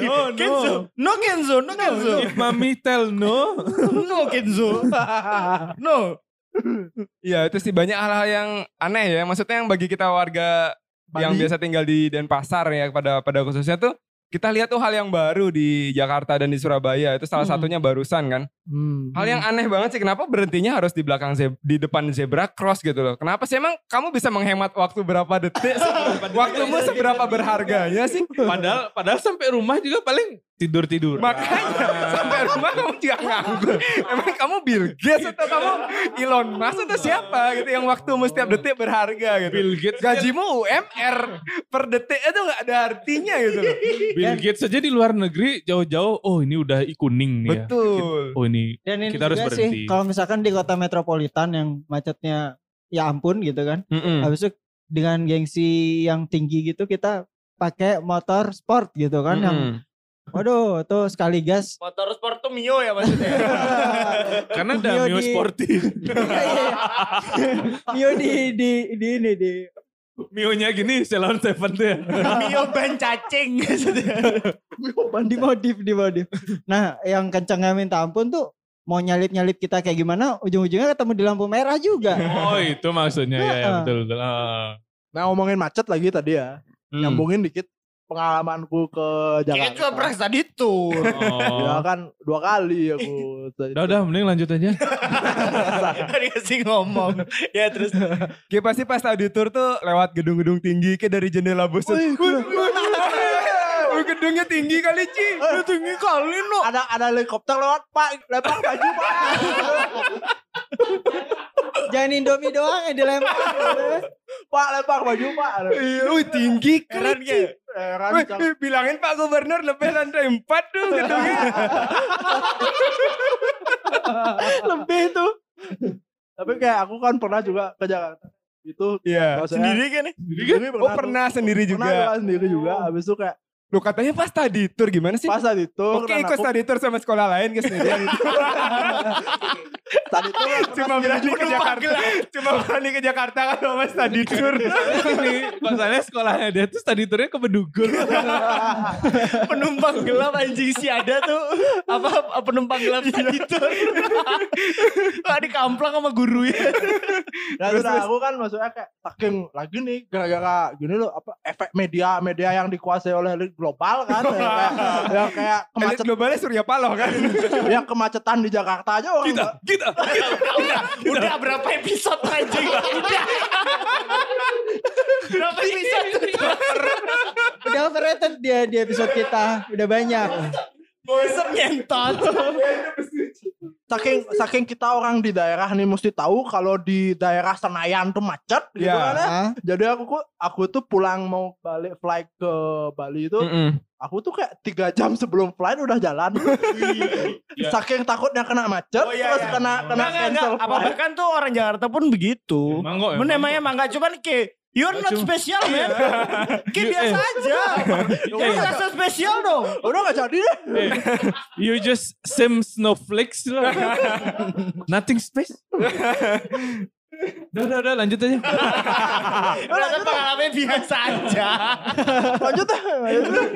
E: No,
B: Kenzo,
E: no.
B: no Kenzo, no Kenzo.
E: If mommy tell no.
B: No Kenzo. No.
C: iya itu sih banyak hal-hal yang aneh ya maksudnya yang bagi kita warga yang
A: Bali.
C: biasa tinggal di Denpasar ya pada pada khususnya tuh kita lihat tuh hal yang baru di Jakarta dan di Surabaya itu salah
D: Hmm.
C: satunya barusan kan hal yang aneh banget sih kenapa berhentinya harus di belakang ze- di depan zebra cross gitu loh kenapa sih emang kamu bisa menghemat waktu berapa detik waktumu seberapa berharganya sih
E: Padahal padahal sampai rumah juga paling tidur-tidur.
C: Makanya sampai rumah kamu juga nganggur. Emang kamu Bill Gates atau kamu Elon Musk atau siapa gitu yang waktu setiap detik berharga gitu.
E: Bill Gates
C: Gajimu UMR per detik itu nggak ada artinya gitu loh.
E: Bill Gates saja di luar negeri jauh-jauh, oh ini udah i kuning nih ya.
C: Betul.
E: Oh ini
D: Dan ini
E: Kita harus
D: juga sih,
E: berhenti.
D: kalau misalkan di kota metropolitan yang macetnya ya ampun gitu kan.
C: Mm-mm.
E: Hmm.
D: Habis itu dengan gengsi yang tinggi gitu kita pakai motor sport gitu kan yang
E: Hmm.
C: Mm-mm.
D: waduh tuh sekali
E: [laughs]
D: gas [laughs] Iya,
B: Motor sport tuh Mio ya maksudnya.
E: karena ada
D: Mio
E: Mio
D: di-
E: Sporty.
D: Iya, Mio di di di ini di
E: [laughs] Mio-nya gini Ceylon Seven tuh ya.
B: Mio ban cacing maksudnya.
D: dimodif dimodif. Nah, yang kencangnya minta ampun tuh mau nyalip-nyalip kita kayak gimana ujung-ujungnya ketemu di lampu merah juga.
E: [laughs] Oh itu maksudnya ya, ya
D: Heeh.
E: betul betul. [laughs] Ah.
A: Nah ngomongin macet lagi tadi ya.
E: Hmm.
A: Nyambungin dikit pengalamanku ke
B: Kayak
A: Jakarta.
B: kepres tadi tuh.
A: Ya
E: Oh.
A: kan dua kali aku.
E: Udah udah mending lanjut aja.
B: Tadi sih ngomong. Ya terus
C: Kayak pasti pas tadi tour tuh lewat gedung-gedung tinggi kayak dari jendela bus tuh.
A: Wih, gila.
C: Wih, gedungnya tinggi kali Ci.
B: tinggi kali no.
A: ada ada helikopter lewat pak lempar baju pak
D: Jangan Indomie doang yang dilempar.
A: pak lempar baju pak
C: Iya, wih, tinggi keren
B: Keren
C: Ci.
B: gak?
A: heran
C: Wih,
A: Cang.
C: wih, bilangin Pak Gubernur lebih lantai 4 tuh gedungnya.
A: lebih itu tapi kayak aku kan pernah juga ke Jakarta itu
C: Iya.
A: maksudnya-
B: Sendiri kan nih?
A: sendiri
C: Oh
A: tuh.
C: pernah sendiri
A: pernah juga
C: juga. Oh.
A: sendiri juga habis itu kayak
C: Lo katanya pas tadi tour gimana sih?
A: pas saat itu
C: Oke
A: kan aku-
C: ikut study tour sama sekolah lain ke sendirian.
B: [laughs]
A: saat itu kan
C: [laughs]
A: pernah
C: Cuma
A: sendiri
C: berani
A: juga.
C: ke Jakarta. Cuma berani ke Jakarta kan sama study tour.
E: [laughs] Ini masalahnya sekolahnya dia tuh tadi turnya ke Bedugul.
B: [laughs] penumpang gelap anjing si ada tuh apa penumpang gelap
C: Iya.
B: tadi tuh
C: [laughs]
B: Wah, dikamplang sama guru ya
A: Nah, terus, aku kan maksudnya kayak saking lagi nih gara-gara gini loh apa efek media media yang dikuasai oleh elit global kan yang kayak, yang kayak
C: Elit
A: kemacetan
C: globalnya Surya Paloh kan.
A: yang kemacetan di Jakarta aja orang
E: [laughs] Kita kita.
B: udah udah berapa episode anjing udah berapa episode
D: Udah overrated dia di episode kita. Udah banyak.
B: bosan nyentot
A: saking saking kita orang di daerah nih mesti tahu kalau di daerah Senayan tuh macet gitu
C: Iya.
A: kan ya.
D: Hah?
A: Jadi aku ku- aku tuh pulang mau balik flight ke Bali itu,
C: Mm-mm.
A: aku tuh kayak tiga jam sebelum flight udah jalan. Saking takutnya kena macet,
B: Oh, iya,
A: terus
B: iya.
A: kena kena
B: Enggak, enggak,
A: cancel
B: enggak. Apa
A: flight.
B: bahkan tuh orang Jakarta pun begitu.
E: Emang
C: Iya,
E: kok,
B: Men emang emang enggak cuman ke You're not special man. Ki
C: Iya.
B: biasa aja. Lu rasa spesial dong.
A: Udah gak jadi deh.
E: You just same snowflakes [laughs] lah. Nothing space. udah, udah, udah lanjut [laughs] aja.
B: Lu rasa pengalaman biasa aja.
A: Lanjut deh. lanjut deh.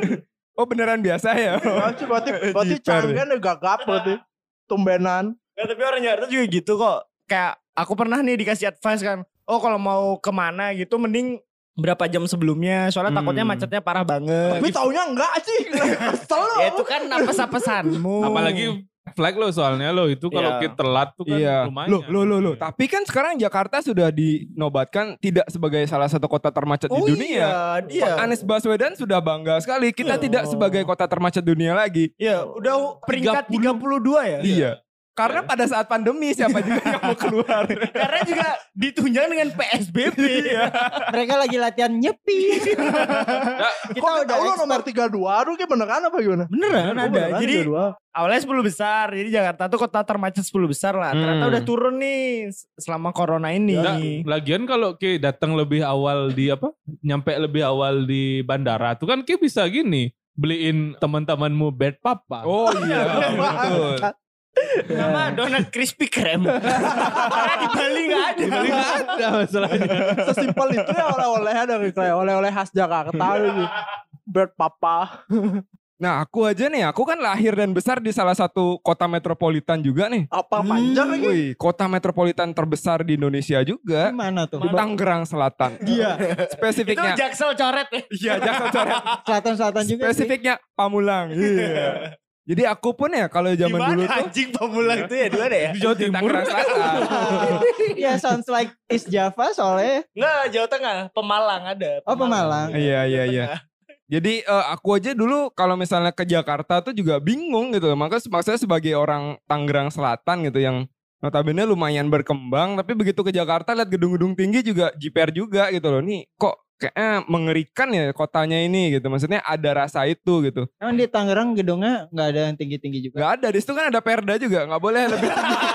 C: Oh beneran biasa ya.
B: Iya.
A: Lanjut, Berarti berarti
C: Jiper,
A: canggan ya gagap berarti. Tumbenan.
B: Ya, tapi orang Jakarta juga gitu kok. Kayak aku pernah nih dikasih advice kan. Oh kalau mau kemana gitu mending berapa jam sebelumnya. Soalnya takutnya
E: Hmm.
B: macetnya parah
C: Iya,
B: banget.
A: Tapi taunya enggak sih. Kesel loh.
B: Ya itu kan apes-apesanmu.
E: [laughs] Apalagi flag lo soalnya lo itu kalau
B: Iya.
E: kita telat tuh kan
C: Iya.
E: lumayan.
C: Loh, loh, loh, loh. Tapi kan sekarang Jakarta sudah dinobatkan tidak sebagai salah satu kota termacet
B: oh,
C: di dunia.
B: Iya, iya.
C: Pak Anies Baswedan sudah bangga sekali kita
B: Iya.
C: tidak sebagai kota termacet dunia lagi.
B: Iya, udah peringkat 32 ya.
C: Iya. Karena pada saat pandemi siapa juga yang mau keluar.
B: [laughs]
C: Iya.
B: Karena juga ditunjang dengan PSBB.
D: Mereka lagi latihan nyepi. kita
A: Kok
D: udah
A: tahu lo nomor
D: expert.
A: 32 tuh kayak beneran apa gimana? Oh,
B: Beneran ada.
A: beneran
B: Jadi
A: 32.
B: awalnya 10 besar. Jadi Jakarta tuh kota termacet 10 besar lah. Ternyata
C: Hmm.
B: udah turun nih selama corona ini.
E: Nah, lagian kalau Ki datang lebih awal di apa? Nyampe lebih awal di bandara tuh kan Ki bisa gini beliin teman-temanmu bed papa.
C: Oh
B: [laughs]
C: iya, betul.
B: Sama donat crispy krem. Karena di Bali gak ada.
E: Jadi nggak ada masalahnya.
A: sesimpel itu ya oleh-olehnya dari kayak oleh-oleh khas Jakarta
C: Iya.
A: gitu. Bird Papa.
C: Nah aku aja nih, aku kan lahir dan besar di salah satu kota metropolitan juga nih.
A: Apa panjang lagi?
C: Wih, kota metropolitan terbesar di Indonesia juga.
D: Gimana tuh?
C: Tangerang Selatan.
D: Iya.
B: Itu
C: Spesifiknya.
B: jaksel coret ya.
C: Iya, Jaksel Coret.
D: Selatan-selatan juga sih.
C: Spesifiknya Pamulang. Iya. Jadi aku pun ya kalau zaman dulu
B: Gimana
C: tuh
B: anjing pemulang itu ya dua deh ya?
E: Di Jawa
C: Iya, di
E: Timur.
C: Tangerang Selatan.
D: [laughs] ya sounds like East Java soalnya.
B: Enggak, Jawa Tengah. Pemalang ada.
D: Oh, Pemalang.
C: Iya, iya, iya. Jadi eh, aku aja dulu kalau misalnya ke Jakarta tuh juga bingung gitu. Maka se- maksudnya sebagai orang Tangerang Selatan gitu yang notabene lumayan berkembang. Tapi begitu ke Jakarta lihat gedung-gedung tinggi juga JPR juga gitu loh. Nih kok kayaknya mengerikan ya kotanya ini gitu. Maksudnya ada rasa itu gitu.
D: Emang di Tangerang gedungnya nggak ada yang tinggi-tinggi juga.
C: Gak ada, di situ kan ada perda juga. Gak boleh lebih [laughs] tinggi.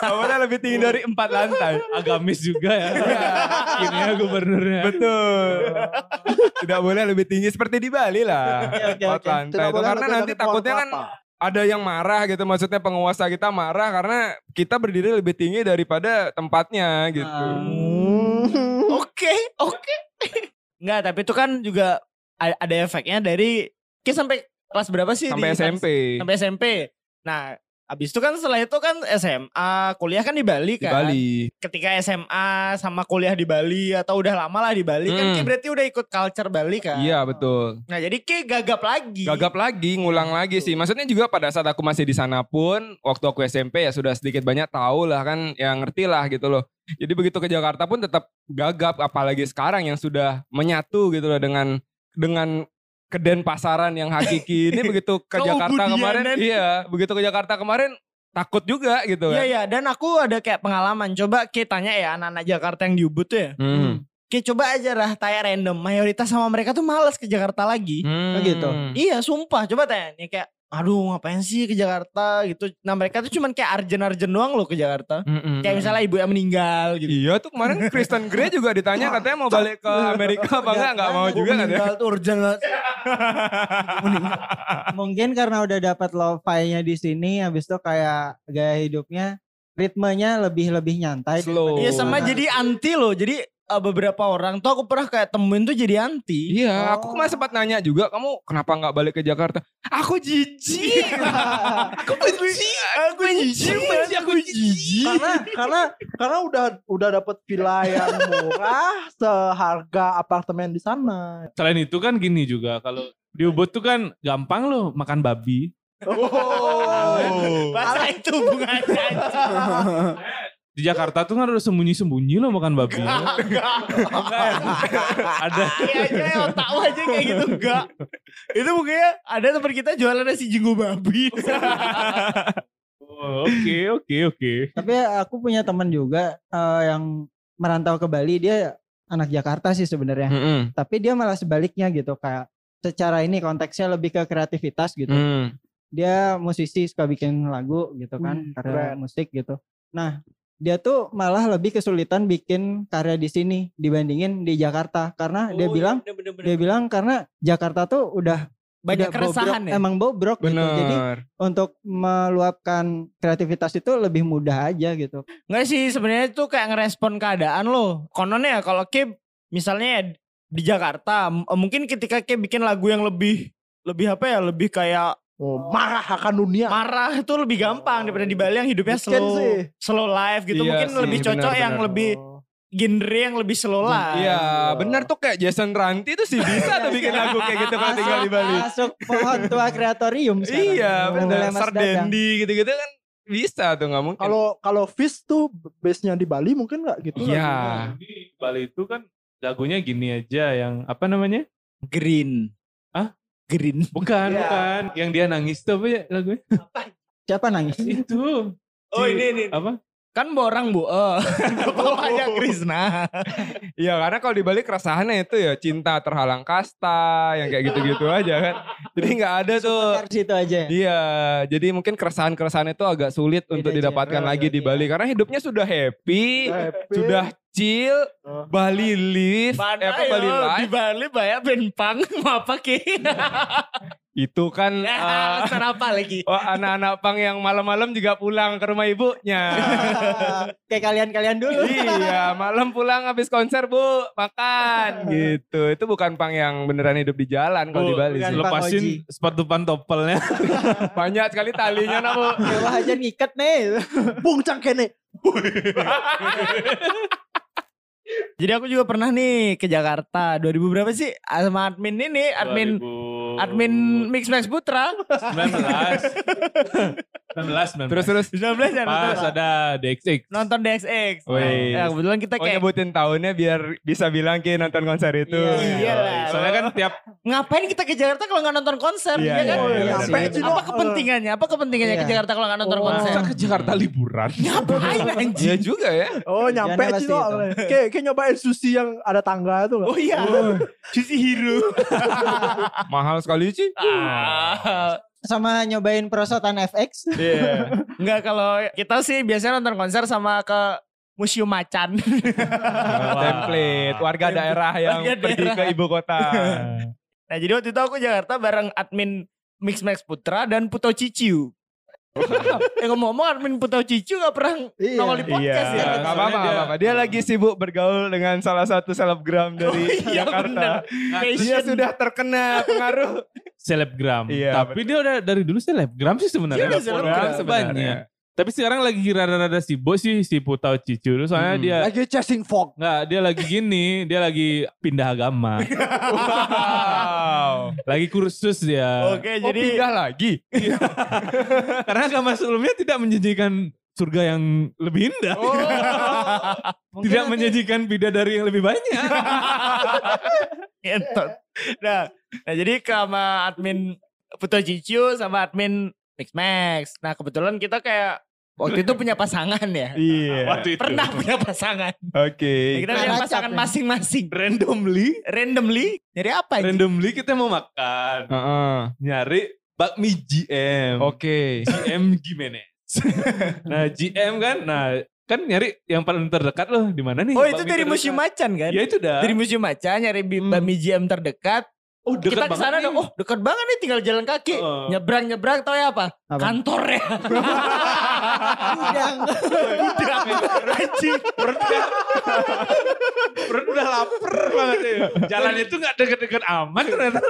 C: Gak boleh lebih tinggi dari empat lantai.
E: [laughs] Agamis juga ya. Ini ya gubernurnya.
C: Betul. Tidak boleh lebih tinggi seperti di Bali lah.
D: Oke, oke,
B: Ya,
C: Empat
D: oke.
C: lantai.
A: Tidak
C: Oh, kan. Nah, Itu
A: boleh
C: karena
A: lebih
C: nanti
A: dari pohon
C: takutnya kan
A: kelapa.
C: ada yang marah gitu. Maksudnya penguasa kita marah karena kita berdiri lebih tinggi daripada tempatnya gitu.
B: Nah,
A: Hmm.
B: Oke, oke. Enggak, tapi itu kan juga a- ada efeknya dari kayak sampai kelas berapa sih?
C: Sampai
B: di-
C: SMP.
B: Sampai SMP. Nah, habis itu kan setelah itu kan SMA, kuliah kan di Bali
C: Di
B: kan.
C: Bali.
B: Ketika SMA sama kuliah di Bali atau udah lama lah di Bali kan
C: Hmm.
B: kayak berarti udah ikut culture Bali kan.
C: Iya betul.
B: Nah, jadi kayak gagap lagi.
C: Gagap lagi,
B: Iya,
C: ngulang lagi sih. Maksudnya juga pada saat aku masih di sana pun, waktu aku SMP ya sudah sedikit banyak tahu lah kan, ya ngerti lah gitu loh. Jadi begitu ke Jakarta pun tetap gagap, apalagi sekarang yang sudah menyatu gitu loh dengan dengan keden pasaran yang hakiki
B: [laughs]
C: ini begitu ke Jakarta kemarin,
B: Keubudianan.
C: iya begitu ke Jakarta kemarin takut juga gitu
B: Iya
C: kan.
B: iya dan aku ada kayak pengalaman coba kayak tanya ya anak-anak Jakarta yang di Ubud tuh ya.
C: Hmm.
B: Kayak coba aja lah tanya random mayoritas sama mereka tuh males ke Jakarta lagi.
C: Hmm.
D: Oh gitu.
B: Iya sumpah coba tanya nih kayak aduh ngapain sih ke Jakarta gitu. Nah mereka tuh cuman kayak arjen-arjen doang loh ke Jakarta.
C: Mm-mm.
B: Kayak misalnya ibu yang meninggal gitu.
C: Hmm, Iya tuh kemarin Kristen Grey juga ditanya katanya mau balik ke Amerika
B: Iya.
C: apa enggak, enggak mau
B: Ibu
C: juga katanya.
B: meninggal tuh urgent lah.
D: Mungkin karena udah dapat lo-fi-nya di sini habis itu kayak gaya hidupnya ritmenya lebih-lebih nyantai.
C: Slow.
B: Iya
D: Oh.
B: sama jadi anti loh. Jadi eh, beberapa orang tuh aku pernah kayak temuin tuh jadi anti.
C: Iya,
D: Oh.
C: aku kemarin sempat nanya juga, kamu kenapa nggak balik ke Jakarta? Aku jijik. aku benci. Aku jijik. benci, Aku jijik.
A: karena karena karena udah udah dapat villa yang murah seharga apartemen di sana.
E: Selain itu kan gini juga kalau di Ubud tuh kan gampang loh makan babi.
A: Oh.
B: Oh. Masa itu hubungannya anjing?
E: Di Di Jakarta tuh kan udah sembunyi-sembunyi loh makan babi.
B: Enggak.
E: Enggak. Ada.
B: Iya aja ya, otakmu aja kayak gitu enggak. Itu mungkin ada teman kita jualan nasi jenggo babi.
E: Oh, Oke, oke, oke.
D: Tapi aku punya teman juga eh, yang merantau ke Bali, dia anak Jakarta sih sebenarnya.
C: Mm-mm.
D: Tapi dia malah sebaliknya gitu kayak secara ini konteksnya lebih ke kreativitas gitu.
C: Mm.
D: Dia musisi suka bikin lagu gitu
A: Hmm,
D: kan, karya
A: keren.
D: musik gitu. Nah, dia tuh malah lebih kesulitan bikin karya di sini dibandingin di Jakarta karena
B: Oh, iya,
D: dia bilang dia bilang karena Jakarta tuh udah
B: banyak
D: udah
B: keresahan
D: bobrok,
B: ya.
D: emang bobrok gitu. Jadi
C: Bener.
D: untuk meluapkan kreativitas itu lebih mudah aja gitu.
B: Enggak sih sebenarnya itu kayak ngerespon keadaan lo. anu Kononnya ya, kalau Kip misalnya ya, di Jakarta m- eh, mungkin ketika Kip bikin lagu yang lebih lebih apa ya lebih kayak
A: Oh, marah akan dunia.
B: marah itu lebih gampang daripada di Bali yang hidupnya
A: Mungkin
B: slow
A: sih.
B: slow life gitu
C: Iya
B: mungkin
C: sih,
B: lebih cocok
C: benar,
A: Oh.
B: yang
C: benar.
B: lebih genre yang lebih slow life
C: Iya, bener tuh kayak Jason Ranti tuh sih bisa tuh bikin lagu kayak gitu kalau tinggal di Bali.
D: Masuk pohon tua kreatorium sekarang.
C: Iya,
D: Boleh
C: bener.
D: Mas Dadang.
C: Sardendi gitu-gitu kan bisa tuh nggak mungkin.
A: Kalau kalau Fish tuh base-nya di Bali mungkin nggak gitu.
C: Iya.
E: Jadi Bali itu kan lagunya gini aja yang apa namanya?
B: green
E: Hah?
B: green
E: Bukan,
F: Iya.
E: bukan. Yang dia nangis tuh apa ya lagunya?
D: Siapa nangis?
E: Itu.
B: oh ini ini
E: [laughs] Apa?
B: kan borang bu eh bapaknya Krisna
C: [laughs] Iya, karena kalau di Bali keresahannya itu ya cinta terhalang kasta, yang kayak gitu-gitu aja kan. Jadi nggak ada tuh.
D: Ntar situ aja.
C: Iya, jadi mungkin keresahan-keresahan itu agak sulit
D: Beda
C: untuk
D: aja,
C: didapatkan
D: bro,
C: lagi di
D: iya.
C: Bali karena hidupnya sudah happy,
A: Happy.
C: sudah chill,
A: Oh.
C: Bali live, eh,
B: Mana
C: apa Bali
B: yo, di
C: live.
B: Bali banyak benpang [laughs] mau apa ki
C: [laughs] Itu kan
B: [laughs]
C: eh,
B: ya alasan apa lagi
C: Wah anak-anak pang yang malam-malam juga pulang ke rumah ibunya.
D: [laughs]
B: [laughs]
D: Kayak kalian-kalian dulu.
C: iya, malam pulang habis konser bu,
B: [laughs]
C: makan gitu. Itu bukan pang yang beneran hidup di jalan kalau di Bali.
D: bukan.
C: sih.
E: kan Lepasin sepatu pantopelnya.
C: [laughs] Banyak sekali talinya nak
E: [laughs]
C: bu.
D: Wah aja ngikat nih.
A: Bung cangkene.
B: jadi aku juga pernah nih ke Jakarta 2000 berapa sih sama admin ini admin admin Mix Max Putra
E: 19. 19, 19.
C: Terus terus.
B: 19 ya
E: Pas
B: nonton,
E: ada DXX.
B: nonton DXX
E: Wih.
B: ya kebetulan kita
C: Oh
B: kayak
C: nyebutin tahunnya biar bisa bilang ki nonton konser itu.
B: Iya lah.
E: Soalnya kan tiap
B: ngapain kita ke Jakarta kalau nggak nonton konser
C: Iya,
B: ya kan?
C: iya, iya,
A: Sampai
B: Apa-
A: Cino,
B: apa
A: eh,
B: kepentingannya? Apa kepentingannya ke
D: Iya.
B: Jakarta kalau nggak nonton
D: Oh.
B: konser?
E: ke Jakarta liburan.
B: Ngapain
C: Iya
B: anjing?
C: juga ya.
A: Oh
D: Jangan
A: nyampe
D: pasti
A: Cino.
D: itu.
A: Kayak kayak nyobain sushi yang ada tangga itu nggak?
B: Oh iya. Sisi hero.
C: Mahal sekali sih.
B: Ah.
D: Sama nyobain perosotan FX.
C: Iya.
B: Enggak kalau kita sih biasanya nonton konser sama ke Museum Macan. [laughs]
C: Template warga daerah yang
B: Warga
C: pergi
B: daerah.
C: ke ibu kota.
B: [laughs] Nah jadi waktu itu aku ke Jakarta bareng admin Mix Max Putra dan Puto Ciciu. Eh ngomong-ngomong admin Puto Ciciu gak pernah
A: Iya.
B: nongol di podcast
E: Iya.
B: ya.
C: Gak apa-apa,
E: Soalnya
C: gak
E: dia-
C: apa-apa. Dia lagi sibuk bergaul dengan salah satu selebgram dari
B: Oh iya,
C: Jakarta.
B: bener.
C: Dia
B: Fashion.
C: sudah terkena pengaruh.
E: Selebgram.
C: Iya,
E: Tapi dia udah dari dulu selebgram sih sebenarnya.
B: Dia udah selebgram
E: Iya, sebenarnya. Tapi sekarang lagi rada-rada sibuk sih si Putau Cicu. Soalnya
C: Hmm.
E: dia
A: Lagi chasing fog.
E: Nggak, dia lagi gini, dia lagi pindah
C: [laughs]
E: agama.
C: Wow.
E: Lagi kursus dia.
B: Oke
C: Oh,
B: Eh, jadi Iya.
C: pindah lagi.
E: [laughs] Karena agama sebelumnya tidak menjanjikan surga yang lebih indah.
B: Oh.
E: [laughs] tidak menjanjikan bidadari yang lebih banyak.
B: Ngentot. Iya, Nah, nah jadi ke sama admin Puto Cicu sama admin Mix Max. Nah kebetulan kita kayak waktu itu punya pasangan
E: [laughs]
B: ya.
C: Iya.
E: Waktu itu.
B: Pernah punya pasangan. Nah,
C: Oke.
B: Kita punya
D: Acap
B: pasangan
D: nih.
B: masing-masing.
E: Randomly,
B: Randomly. Jadi apa ini?
E: randomly kita mau makan.
C: Heeh.
E: Nyari bakmi GM.
B: Oh.
C: Oke.
E: GM
B: [laughs]
E: Gimenez. nah GM kan, nah kan nyari yang paling terdekat loh di mana nih?
B: Oh itu
E: bakmi
B: dari
E: terdekat?
B: Museum Macan kan?
E: Ya itu dah.
B: Dari Museum Macan nyari bi- bakmi GM terdekat.
E: Hmm. oh
B: kita ke sana
E: banget
B: dong.
E: nih. Oh.
B: Oh dekat banget nih tinggal jalan kaki.
E: Heeh.
B: Nyebrang-nyebrang tau ya apa?
D: Apa?
B: Kantornya.
D: Udang.
B: Anjing.
E: Perut udah lapar banget ya. Jalan itu gak deket-deket aman ternyata.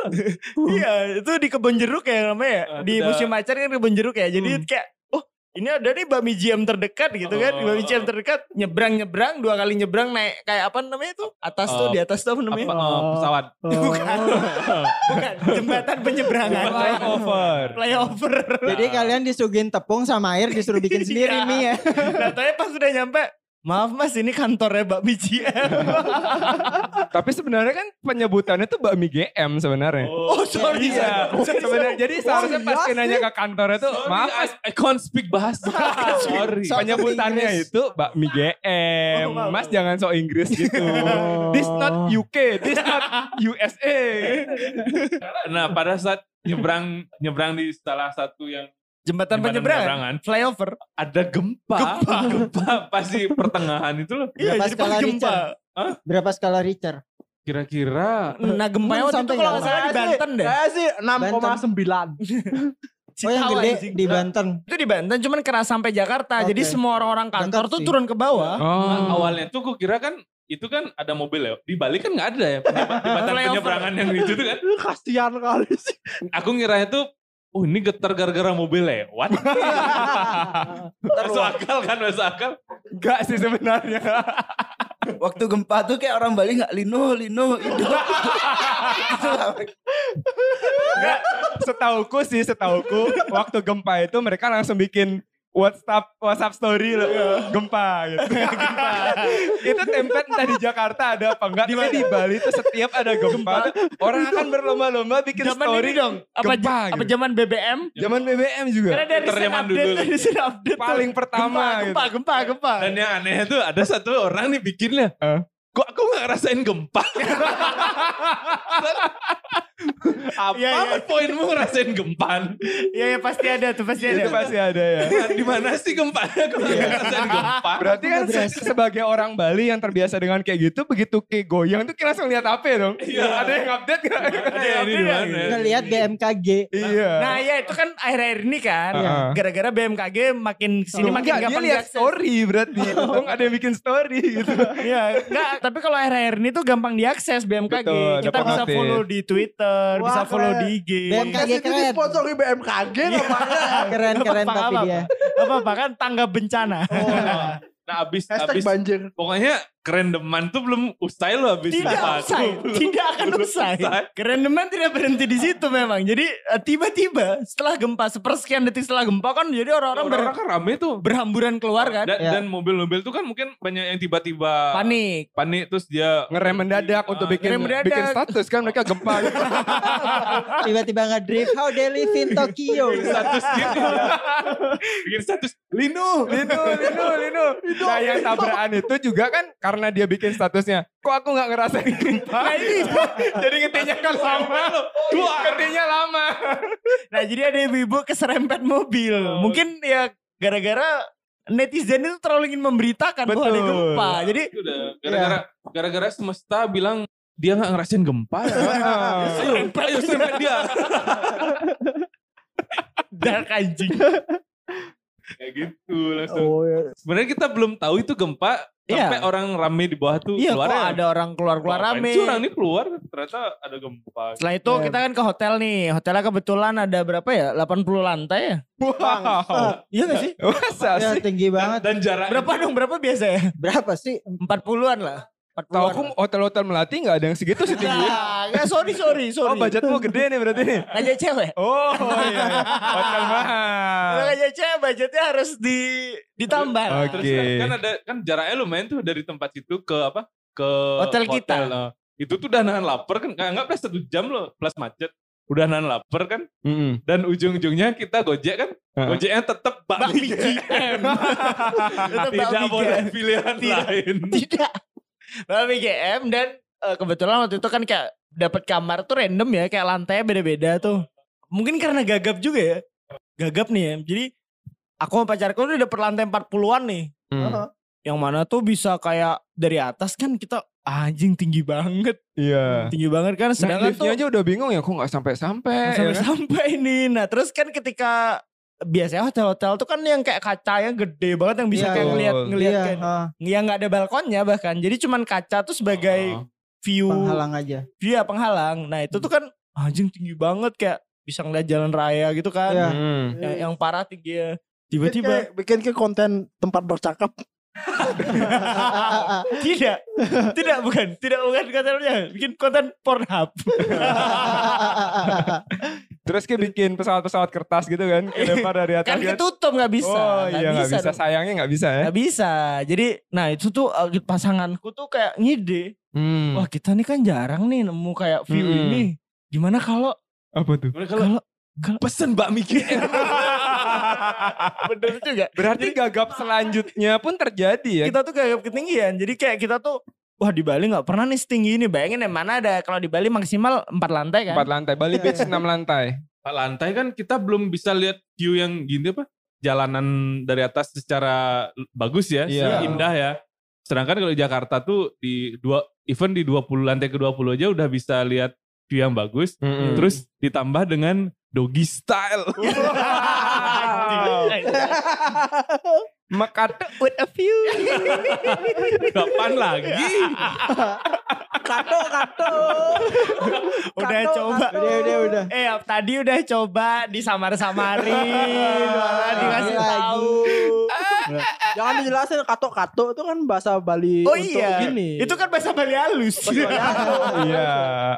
B: Iya, itu di kebun jeruk ya namanya. ya.
E: Ah,
B: di
E: tidak.
B: musim macan kan kebun jeruk ya. Jadi
E: Hmm.
B: kayak oh, ini ada nih bakmi jam terdekat gitu kan.
E: Oh.
B: Bakmi jam terdekat nyebrang-nyebrang dua kali nyebrang naik kayak apa namanya tuh? Atas tuh
E: Oh.
B: di atas tuh apa namanya?
E: Apa, eh, pesawat.
B: Bukan. [laughs] Bukan jembatan penyeberangan.
C: Flyover.
B: Flyover.
D: Jadi kalian disuguhin tepung sama air disuruh bikin sendiri
B: [laughs] Iya.
D: mie ya.
B: Nah, tanya pas sudah nyampe Maaf mas, ini kantornya Bakmi GM.
C: Tapi sebenarnya kan penyebutannya tuh bakmi GM sebenarnya.
B: oh sorry
C: Iya.
B: saya- sorry, sorry.
C: Sebenarnya jadi seharusnya pas dia nanya ke kantornya tuh, maaf mas,
E: I, I can't speak
C: [laughs]
E: bahasa. Sorry.
C: penyebutannya itu bakmi GM.
B: Oh, maaf.
C: Mas jangan sok Inggris gitu. This not UK, this not USA.
E: Nah pada saat nyebrang nyebrang di salah satu yang jembatan
B: Jembatan penyeberangan.
E: penyeberangan,
B: Flyover.
E: ada gempa. Gempa. pasti pertengahan itu loh.
D: Berapa
B: Iya, jadi pas
D: skala
B: gempa.
D: Richter? Berapa skala Richter?
E: Kira-kira
B: Nah gempanya waktu itu
D: Sampai
B: kalau
D: nggak
B: nggak salah di Banten deh.
A: Saya sih Oh, 6,9.
D: Oh yang
B: Citawa,
D: gede
B: anjing.
D: di Banten.
B: Itu di Banten cuman keras sampai Jakarta. Jadi
D: Oke.
B: semua orang-orang kantor
D: Dekat
B: tuh
D: sih.
B: turun ke
C: Iya.
B: bawah.
C: eh,
E: Nah, awalnya tuh gue kira kan itu kan ada mobil ya. Di Bali kan nggak ada ya penyeba- jembatan
B: Flyover.
E: penyeberangan yang itu tuh kan.
B: Eh,
A: Lu kasihan kali sih.
E: Aku ngiranya tuh oh ini getar gara-gara mobil
B: [laughs]
E: lewat. masuk akal kan masuk akal.
C: Enggak sih sebenarnya.
F: Waktu gempa tuh kayak orang Bali nggak lino lino itu.
C: Enggak, setauku sih, setauku waktu gempa itu mereka langsung bikin WhatsApp WhatsApp story loh. Gempa gitu. itu template entah di Jakarta ada apa enggak. Tapi di Bali itu setiap ada gempa tuh orang akan berlomba-lomba bikin
B: Zaman
C: story
B: ini dong. Apa,
C: gempa
B: apa
C: gitu.
B: zaman BBM?
C: Zaman BBM juga.
B: Karena dari
E: Twitter
B: recent
E: zaman
B: update,
E: dulu.
B: dari recent update tuh.
C: Paling pertama gitu.
B: gempa, gitu. gempa, gempa, gempa.
E: Dan yang aneh tuh ada satu orang nih bikinnya.
C: Eh.
E: Kok aku nggak ngerasain
B: [laughs]
E: gempa? Apa
B: Iya, iya.
E: poinmu ngerasain gempa?
B: Iya, iya pasti ada tuh, pasti
C: gitu.
B: ada.
C: Itu pasti ada ya. Iya.
E: Di mana sih gempa? Aku nggak ngerasain gempa.
C: Berarti kan se- sebagai orang Bali yang terbiasa dengan kayak gitu, begitu kayak goyang tuh kita langsung lihat HP dong.
E: Iya.
C: Ada yang update nggak?
E: Ada yang ini di mana?
D: Ngelihat BMKG.
C: Iya.
B: Nah ya itu kan akhir-akhir ini kan
C: Heeh.
B: gara-gara BMKG makin sini
C: Ini
B: makin
C: makin dia
B: gampang
C: lihat
B: diakses.
C: story [laughs] berarti. Untung ada yang bikin story gitu.
B: Iya, enggak, tapi kalau akhir-akhir ini tuh gampang diakses BMKG.
C: Betul, ada
B: Kita bisa
C: pengupdate.
B: follow di Twitter,
A: Wah,
B: bisa follow
A: keren.
B: di IG.
D: BMKG
A: Kasih itu
D: keren.
A: disponsori BMKG
B: Iya,
A: nggak apa-apa.
D: Keren keren
B: Apa-apa,
D: tapi dia.
B: Apa bahkan tangga bencana.
E: Nah abis,
A: Hashtag
E: abis
A: banjir.
E: pokoknya keren deman tuh belum usai loh abis
B: Tidak
E: gempa.
B: usai, tidak akan usai.
E: usai.
B: Keren teman tidak berhenti di situ memang. Jadi eh, tiba-tiba setelah gempa sepersekian detik setelah gempa kan jadi orang-orang ber-
E: Orang-orang kan rame tuh.
B: berhamburan keluar kan.
E: Dan,
D: Ya.
E: dan mobil-mobil tuh kan mungkin banyak yang tiba-tiba
B: Panik.
E: panik terus dia
C: Ngerem mendadak untuk
E: Ah,
C: bikin
B: ngerem mendadak. ya.
C: bikin status kan mereka gempa. [laughs]
D: Tiba-tiba ngedrift How they live in Tokyo.
E: bikin status gitu. bikin status
C: Lino, Lino, Lino, [laughs] Lino. Nah yang tabrakan itu juga kan karena dia bikin statusnya. Kok aku nggak ngerasain gempa? [laughs] Jadi ngetiknya kan lama. Ngetiknya lama.
B: Nah jadi ada ibu-ibu keserempet mobil. Mungkin ya gara-gara netizen itu terlalu ingin memberitakan bahwa ada
C: Betul.
B: gempa. Jadi
E: itu udah gara-gara
B: Iya.
E: gara-gara semesta bilang dia nggak ngerasain gempa. ya.
B: [laughs] Iya.
E: ayo, ayo serempet dia.
B: dark anjing.
E: Kayak gitu langsung.
A: Oh, iya.
E: Sebenarnya kita belum tahu itu gempa sampai
B: Iya.
E: orang rame di bawah tuh
B: Iya
E: keluar ya.
B: kok ada orang keluar-keluar rame.
E: orang ini keluar ternyata ada
B: [laughs]
E: gempa.
B: Setelah itu
A: Iya.
B: kita kan ke hotel nih. Hotelnya kebetulan ada berapa ya? 80 lantai ya?
C: Wow.
B: Iya gak sih?
C: Masa
D: Ya
C: sih?
D: tinggi banget.
E: Iya. Dan jarak
B: Berapa dong? Berapa biasa ya?
D: Berapa sih?
B: 40-an lah. 40-an.
C: Tahu aku hotel-hotel melati nggak ada yang segitu sih tinggi.
B: Nah, ya sorry, sorry,
C: Oh
B: sorry.
C: budgetmu gede nih berarti nih.
B: Ngajak cewek.
C: [laughs] Oh iya, iya. hotel mahal.
B: Kalau ngajak cewek budgetnya harus di ditambah. lah.
C: Oke.
E: Terus kan- kan ada kan jaraknya lumayan tuh dari tempat itu ke apa? Ke
B: Hotel kita.
E: nah. Itu tuh udah nahan lapar kan nggak nggak plus satu jam loh plus macet. Udah nahan lapar kan
C: Mm-mm.
E: dan ujung-ujungnya kita gojek kan
C: Heeh.
E: gojeknya tetap bakmi
B: Bakmi
C: [laughs]
B: GM. Tetap [laughs]
E: tidak
B: bakmi
E: boleh
B: GM.
E: pilihan
B: kan. Tidak.
E: lain
B: Tidak. Bakmi GM dan eh, kebetulan waktu itu kan kayak dapat kamar tuh random ya, kayak lantainya beda-beda tuh. Mungkin karena gagap juga ya. Gagap nih ya. Jadi aku sama pacarku udah dapet lantai 40-an nih.
C: Mm.
B: Yang mana tuh bisa kayak dari atas kan kita anjing tinggi banget.
C: Iya.
B: Tinggi banget
C: Nah,
B: kan sedangkan tuh
C: liftnya aja udah bingung ya kok nggak sampai-sampai. ya
B: [laughs] sampai
C: kan?
B: sampai ini. Nah, terus kan ketika biasanya hotel-hotel tuh kan yang kayak kacanya gede banget yang
D: Iya,
B: bisa kayak
C: betul.
B: ngeliat ngeliat
D: Iya,
B: kayak gitu.
D: ah,
B: yang nggak ada balkonnya bahkan jadi cuman kaca tuh sebagai view
D: penghalang aja.
B: dia penghalang nah itu tuh kan anjing tinggi banget kayak bisa ngeliat jalan raya gitu kan
D: Iya.
E: Hmm.
C: Mm.
B: yang, yang parah tinggi ya
A: Bikin
B: tiba-tiba
A: kayak- bikin ke konten tempat
B: [laughs]
A: bercakap.
B: tidak tidak bukan tidak bukan kontennya bikin konten Pornhub
C: Terus kayak bikin pesawat-pesawat kertas gitu kan. Kelempar dari atas.
B: Kan ketutup nggak bisa.
C: Oh
B: nggak
C: iya nggak bisa.
B: dong.
C: Sayangnya nggak bisa ya.
B: Nggak bisa. Jadi nah itu tuh eh, pasanganku tuh kayak ngide.
C: Hmm.
B: Wah kita nih kan jarang nih nemu kayak view
C: Mm-mm.
B: ini. Gimana kalau
C: Apa tuh?
B: Hmm. kalau
E: Pesen Mbak Miki.
B: [laughs] bener juga.
C: Berarti gagap selanjutnya pun terjadi ya.
B: Kita tuh kayak ketinggian. Jadi kayak kita tuh Wah di Bali nggak pernah nih setinggi ini. Bayangin ya mana ada kalau di Bali maksimal 4 lantai kan. [laughs]
C: Empat lantai. Bali Beach enam lantai.
E: Pak lantai kan kita belum bisa lihat view yang gini apa? Jalanan dari atas secara bagus
C: Iya.
E: ya, secara indah ya. Sedangkan kalau di Jakarta tuh di dua even di 20 lantai ke 20 aja udah bisa lihat view yang bagus.
C: Mm-mm.
E: Terus ditambah dengan doggy style. [laughs]
C: Mekate with a view.
E: Kapan lagi?
A: Kato, kato.
B: udah
A: Kato,
B: coba.
A: kato. Udah, udah, udah.
B: Eh tadi udah coba [laughs] disamar-samarin, malah dikasih
A: Lagi.
B: tahu.
A: Jangan dijelasin kato, kato itu kan bahasa Bali
B: Oh
A: untuk
B: iya,
A: gini.
B: itu kan bahasa Bali halus.
C: Iya,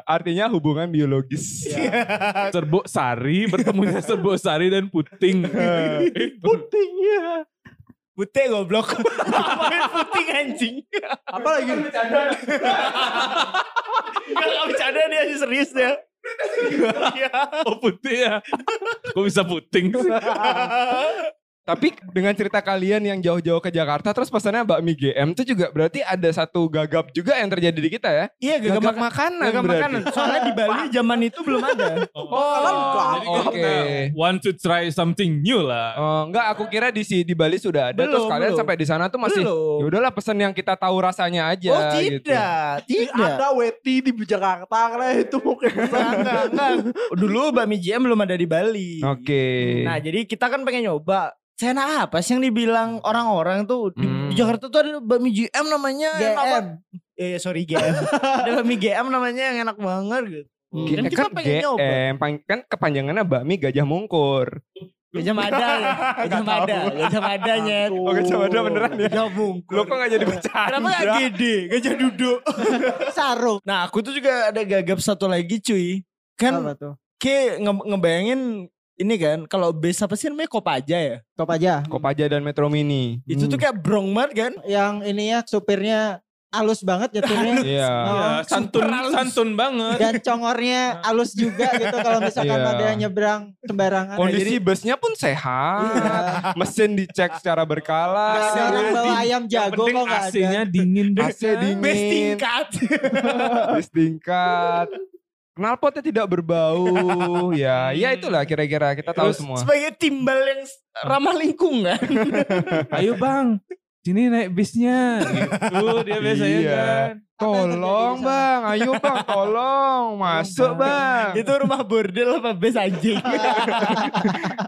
C: artinya hubungan biologis.
E: Iya. Serbuk sari bertemunya serbuk sari dan puting.
C: Eh.
A: Putingnya.
B: Putih goblok. Apaan putih anjing.
A: Apalagi
B: Enggak enggak bercanda dia sih serius dia. Iya.
E: Oh putih ya. [laughs] Kok bisa puting sih?
C: Tapi dengan cerita kalian yang jauh-jauh ke Jakarta terus pesannya Mbak Mi GM itu juga berarti ada satu gagap juga yang terjadi di kita ya.
B: Iya
C: Gagap,
B: gagap makan.
C: makanan
B: Gagap
C: berarti.
B: makanan. Soalnya di Bali zaman itu belum ada.
A: Lengkap.
E: jadi kan
C: Oke.
E: kita want to try something new lah.
C: Oh, enggak aku kira di si- di Bali sudah ada terus
B: Belum,
C: kalian
B: belum.
C: sampai di sana tuh masih
B: Belum.
C: ya udahlah pesan yang kita tahu rasanya aja
B: oh
C: gitu.
B: tidak, tidak.
A: ada Weti di Jakarta karena itu mungkin.
B: Enggak, enggak, enggak. Dulu Bami GM belum ada di Bali.
C: gitu. Oke.
B: Nah jadi kita kan pengen nyoba. Sena apa sih yang dibilang orang-orang tuh di,
C: Hmm.
B: di Jakarta tuh ada bakmi GM namanya
A: GM.
B: enak banget. Eh sorry
C: [laughs]
B: GM. ada bakmi GM namanya yang enak banget gitu.
C: G-
B: Dan
C: eh,
B: kita
C: kan
B: pengen nyoba.
C: GM pang- kan kepanjangannya bakmi gajah mungkur.
B: Gajah Mada, ya. Gajah
C: [laughs] Nggak
B: Mada,
C: tahu.
B: Gajah Madanya.
A: Aduh.
C: Oke, coba
A: Oh.
C: ada beneran ya.
B: Gajah Mungkur.
C: Lo kok gak jadi bercanda?
B: [laughs] Kenapa gak gede? Gajah duduk.
D: Hmm. Sarung.
B: Nah aku tuh juga ada gagap satu lagi
D: Apa
B: cuy. Kan
D: tuh?
B: ke nge- ngebayangin ini kan kalau base apa sih namanya Kopaja ya?
D: Top aja.
C: Kopaja dan Metro Mini.
B: Itu tuh kayak brong banget kan?
D: Yang ininya supirnya halus banget nyetirnya.
B: Nah,
C: Iya.
E: Ya,
D: Oh,
E: santun santun banget.
D: [laughs] dan congornya halus juga gitu kalau misalkan
C: Iya. Oh,
D: ada yang nyebrang sembarangan.
C: Kondisi busnya pun
B: Iya.
C: sehat. Mesin dicek secara berkala.
D: Gak ada orang bawa ayam
E: Yang
D: jago
E: penting
D: kok gak Oh, ada.
E: AC-nya dingin deh.
C: AC dingin.
B: Base tingkat.
C: Bis tingkat. Knalpotnya tidak berbau. ya,
B: Hmm.
C: ya itulah kira-kira kita tahu
E: Terus
C: semua.
B: sebagai timbal yang s- ramah kan? lingkungan.
E: [laughs]
B: [laughs]
E: Ayo bang, sini naik bisnya. Gitu
C: [laughs]
E: dia biasanya
C: Iya.
E: kan.
C: Tolong bang, ayo bang,
B: [laughs]
C: tolong masuk bang.
B: itu rumah bordel apa base [laughs] anjing.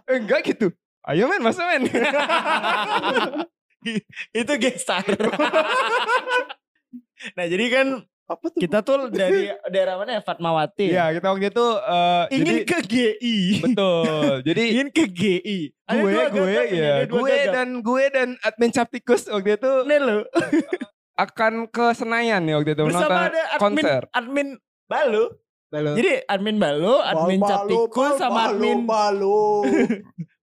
C: Enggak gitu. Ayo men, masuk
B: [laughs]
C: men.
B: itu [laughs] gestar. nah jadi kan
A: Apa tuh?
B: kita tuh dari daerah mana ya Fatmawati.
C: Iya, kita waktu itu eh,
B: Ingin
C: jadi
B: ke [laughs] GI.
C: betul. Jadi
B: Ingin ke GI. Ada
C: gue
B: dua
C: gue
B: gagap ini,
C: ya
B: ada dua
C: gue
B: gagap.
C: dan gue dan admin Captikus waktu itu
B: Ini loh,
C: akan ke Senayan ya waktu itu nonton
B: bersama ada admin
C: konser.
B: admin Balu.
D: Balu.
B: Jadi admin Balu, admin
A: Bal-
B: Captikus
A: bal-
B: sama
A: balu,
B: admin
A: balu.
B: [laughs]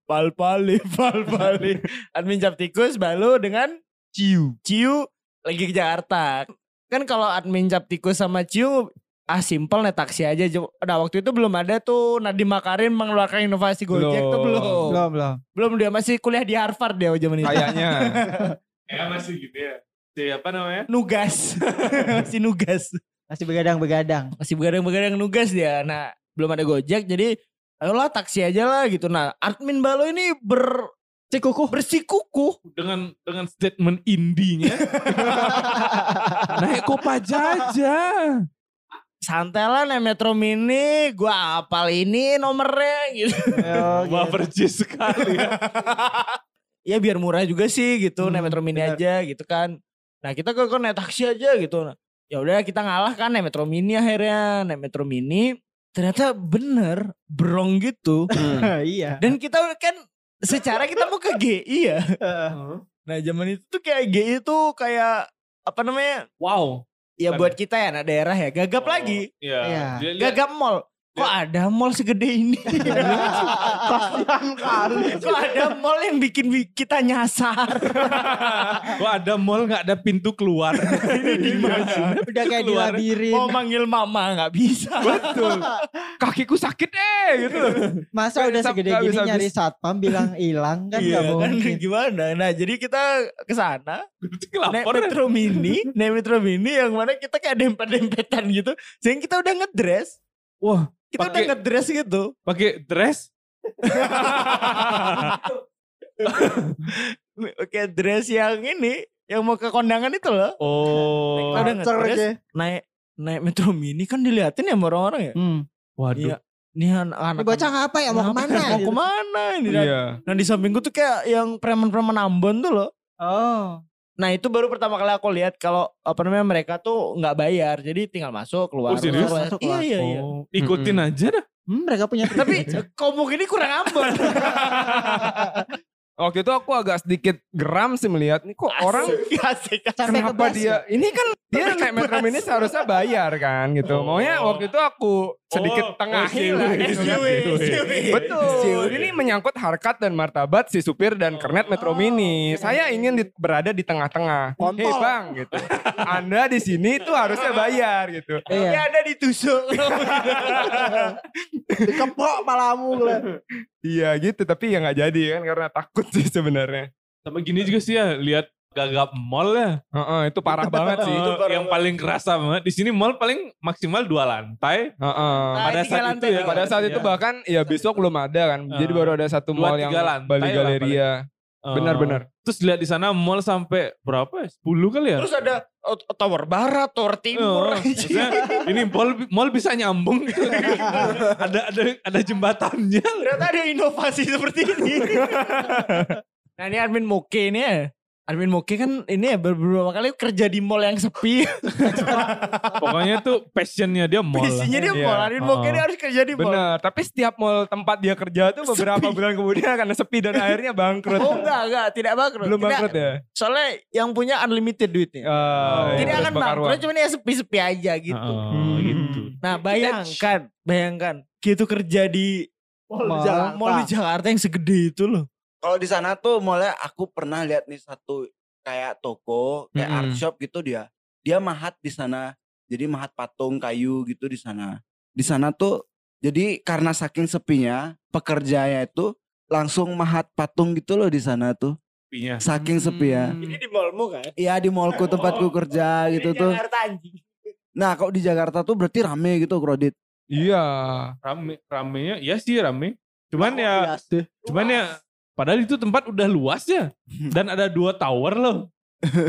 B: Palpali, Palpali. Admin Jap Tikus, Balu dengan Ciu. Ciu lagi ke Jakarta. Kan kalau admin Jap Tikus sama Ciu, ah simple nih taksi aja. Jo- Nah waktu itu belum ada tuh Nadiem Makarim mengeluarkan inovasi Gojek tuh
C: Belum.
B: belum. belum.
D: Belum, belum.
B: dia masih kuliah di Harvard dia zaman itu. [laughs]
C: Kayaknya.
E: Ya masih gitu ya. Siapa namanya?
B: Nugas. [laughs] masih nugas.
D: Masih begadang-begadang.
B: Masih begadang-begadang nugas dia. Nah belum ada Gojek jadi ayolah taksi aja lah gitu. Nah admin Balu ini ber... Cikukuh. Bersikukuh.
E: Dengan dengan statement indinya. naik kopaja aja.
B: santai lah naik ya, metro mini gua apal ini nomornya gitu [laughs]
D: Yo,
E: Wah
D: gitu.
E: percis sekali ya.
B: ya biar murah juga sih gitu naik
D: Hmm,
B: metro mini
D: benar.
B: aja gitu kan nah kita ke naik taksi aja gitu Nah, ya udah kita ngalah kan naik metro mini akhirnya naik metro mini ternyata bener brong gitu
D: [laughs] iya.
B: dan kita kan secara kita mau ke GI ya nah zaman itu tuh kayak GI tuh kayak apa namanya
E: [laughs] Wow.
B: ya
E: Bukan
B: buat kita ya anak daerah ya gagap lagi
E: Iya.
D: Iya.
E: Dia lihat
B: gagap mall Kok ada mall segede ini?
A: Kasihan kali.
B: Kok ada mall yang bikin wi- kita nyasar?
E: Kok ada mall nggak ada pintu
C: [laughs]
E: keluar?
B: Ini gimana?
D: [laughs] Udah kayak di
E: Keluar.
D: labirin.
B: Mau manggil mama nggak bisa.
E: Betul. Kakiku sakit eh gitu [laughs] loh.
D: Masa
C: Kayak
D: udah
C: sap-
D: segede
C: nggak
D: gini
C: bisa
D: nyari satpam bilang hilang kan
B: Iya,
D: nggak mungkin.
B: gimana? Nah jadi kita ke
C: Ah,
B: sana, naik
E: Lapor.
B: metro mini, naik metro mini yang mana kita kayak dempet-dempetan gitu. Jadi kita udah ngedress,
E: Wah,
B: kita udah
E: Pakai-
B: ngedress gitu.
E: pakai dress
B: Oke dress yang ini, yang mau ke kondangan itu loh.
E: Oh,
B: Udah
A: Cer,
B: ngedress,
A: oke.
B: naik naik metro mini kan diliatin ya sama orang-orang ya.
A: Hmm.
E: waduh.
B: Iya. Nih anak
D: Ini bocah apa ya mau kemana?
B: Mau kemana ini?
C: Iya.
B: Nah di samping gue tuh kayak yang preman-preman Ambon tuh loh.
D: Oh,
B: Nah itu baru pertama kali aku lihat kalau apa namanya mereka tuh nggak bayar, jadi tinggal masuk keluar.
E: Oh, serius?
B: keluar,
D: Masuk,
B: keluar.
D: keluar.
B: Iya iya. iya.
E: Oh, ikutin aja dah.
D: hmm, mereka punya [laughs]
B: Tapi komuk ini kurang ambon.
C: Waktu itu aku agak sedikit geram sih melihat nih kok orang
B: asik. asik.
D: Sampai
C: kenapa
D: kebas
C: dia ini kan dia naik metro mini seharusnya bayar kan gitu.
E: Oh.
C: Maunya waktu itu aku sedikit
E: Oh,
C: tengahin
E: SJW,
C: lah. gitu kan.
B: SJW, SJW.
C: Betul. Ini menyangkut harkat dan martabat si supir dan kernet
E: Oh,
C: Metro Mini. Saya ingin di- berada di tengah-tengah.
A: Kontol.
C: Hei bang, gitu. Anda di sini itu harusnya bayar gitu.
B: Ini
D: Iya.
B: ada ditusuk.
A: Dikepok palamu gue.
C: Iya gitu, tapi ya nggak jadi kan karena takut sih sebenarnya.
E: Sama gini juga sih ya, lihat gagap mall ya.
C: Heeh, itu parah banget sih.
E: [laughs] Eh, yang paling kerasa banget. Di sini mall paling maksimal dua lantai.
C: Heeh.
E: Pada
B: Ah, tiga
E: saat itu
B: lantai.
E: ya.
C: Pada saat itu
E: Iya.
C: bahkan ya besok belum ada kan. Jadi
E: Eh,
C: baru ada satu
E: dua,
C: mall yang
E: tiga lantai
C: Bali
E: lah
C: Galeria.
E: Eh,
C: Benar-benar.
E: Terus lihat di sana mall sampai berapa? ya? 10 kali ya?
B: Terus ada eh, Tower Barat, Tower
E: Oh,
B: Timur.
E: maksudnya ini mall mall bisa
B: [laughs]
E: nyambung gitu. ada ada ada jembatannya.
B: Ternyata ada inovasi seperti ini. nah ini admin Moke ini ya. Admin Moke kan ini ya beberapa kali kerja di mall yang sepi.
E: Pokoknya tuh passionnya dia mall. lah.
B: Isinya dia
C: Iya.
B: mall. Admin Moke ini
E: Oh.
B: harus kerja di mall.
C: Benar, tapi setiap mall tempat dia kerja tuh beberapa bulan kemudian karena sepi dan akhirnya bangkrut.
B: Oh enggak, enggak. Tidak bangkrut.
C: Belum
B: Tidak.
C: bangkrut ya?
B: Soalnya yang punya unlimited duitnya.
C: Ah,
B: Tidak
C: iya,
B: akan
C: Bang
B: bangkrut,
C: Arwan.
B: cuman ya sepi-sepi aja gitu.
E: Oh,
C: Hmm.
E: gitu.
B: Nah
F: Iya.
B: bayangkan, bayangkan. Gitu kerja di
A: Mall di
D: Mall.
A: Jakarta.
B: mall di Jakarta yang segede itu loh.
F: Kalau di sana tuh mulai aku pernah lihat nih satu kayak toko, kayak
C: Mm-mm.
F: art shop gitu dia. Dia mahat di sana. Jadi mahat patung kayu gitu di sana. Di sana tuh jadi karena saking sepinya, pekerjanya itu langsung mahat patung gitu loh di sana tuh.
E: Pinya.
F: Saking sepi ya.
C: Hmm.
B: Ini di mallmu kan?
F: Iya di mallku tempatku kerja gitu tuh.
B: Jakarta anjing.
F: Nah kalau di Jakarta tuh berarti rame gitu kredit.
C: Iya.
E: Rame ramenya ya sih rame. Cuman ya
A: Iya sih.
E: cuman ya padahal itu tempat udah luas ya dan ada dua tower loh.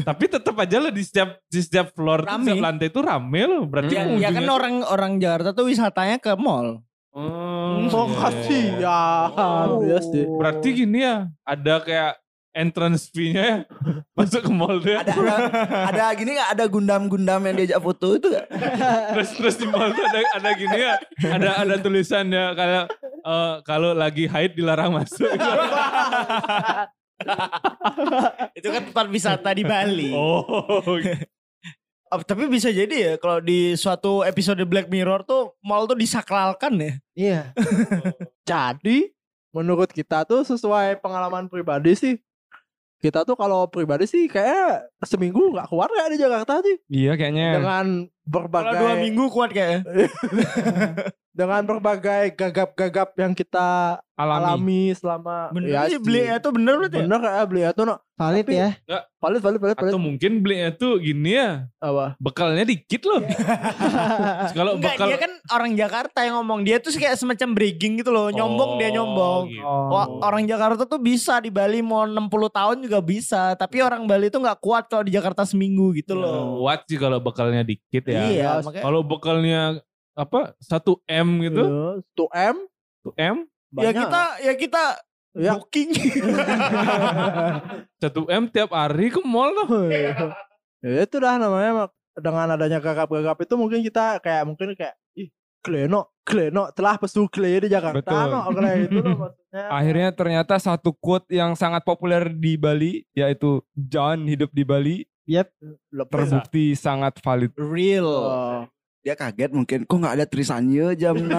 E: Tapi tetap aja loh di setiap di setiap floor, tuh,
B: Rame.
E: setiap lantai itu rame loh. Berarti
B: Ya,
E: yang
B: ya kan
E: ujungnya-
B: orang orang Jakarta tuh wisatanya ke mall.
A: Oh
E: Oh, iya, iya, iya.
A: kasihan.
B: Oh.
A: Iya sih.
E: Berarti gini ya, ada kayak entrance fee-nya ya. [laughs] Masuk ke mall dia.
F: Ada ada, ada gini nggak ada gundam-gundam yang diajak foto itu nggak?
E: terus terus di mall tuh ada ada gini ya ada ada tulisan ya kalau eh, kalau lagi haid dilarang masuk
B: Itu kan tempat wisata di Bali.
C: [laughs]
E: oh
B: Ap- [laughs] Tapi bisa jadi ya kalau di suatu episode Black Mirror tuh mall tuh disakralkan ya.
D: Iya.
A: Jadi menurut kita tuh sesuai pengalaman pribadi sih. Kita tuh kalau pribadi sih kayak seminggu nggak keluar ya di Jakarta sih.
C: Iya kayaknya.
A: Dengan
B: Kalau Oh, dua
A: berbagai
B: minggu kuat ya? kayaknya.
A: dengan berbagai gagap-gagap yang kita
C: Alami.
A: alami selama
B: Bener
A: ya
B: sih
A: sih.
B: beli itu bener berarti ya.
A: Bener kayak beli itu no.
D: Valid
A: Tapi-
D: ya.
A: Valid valid valid valid.
E: atau mungkin belinya tuh gini ya
A: Apa?
E: bekalnya dikit loh Terus [laughs] kalau
B: Enggak,
E: bekal
B: dia kan orang Jakarta yang ngomong. Dia tuh kayak semacam bragging gitu loh. Nyombong dia
E: Oh,
B: nyombong.
E: gitu.
B: Wah, orang Jakarta tuh bisa di Bali mau 60 tahun juga bisa. Tapi orang Bali tuh nggak kuat kalau di Jakarta seminggu gitu loh.
E: kuat sih kalau bekalnya dikit ya
B: Iya,
A: Ya,
B: makanya.
E: kalau bekalnya apa 1 m gitu
A: Tuh M
E: 1 m
B: Ya
A: banyak.
B: kita ya kita
A: Ya.
B: booking.
E: 1 m tiap hari ke mall loh
B: Iya.
A: ya itu dah namanya mak- dengan adanya gagap-gagap itu mungkin kita kayak mungkin kayak ih kleno kleno telah pesu kle di Jakarta
C: Betul.
A: no kayak itu loh maksudnya
C: Akhirnya ternyata satu quote yang sangat populer di Bali yaitu John hidup di Bali
A: Lepas.
C: terbukti sangat valid.
B: Real.
A: Oh.
F: dia kaget mungkin kok nggak ada Trisanya jam 6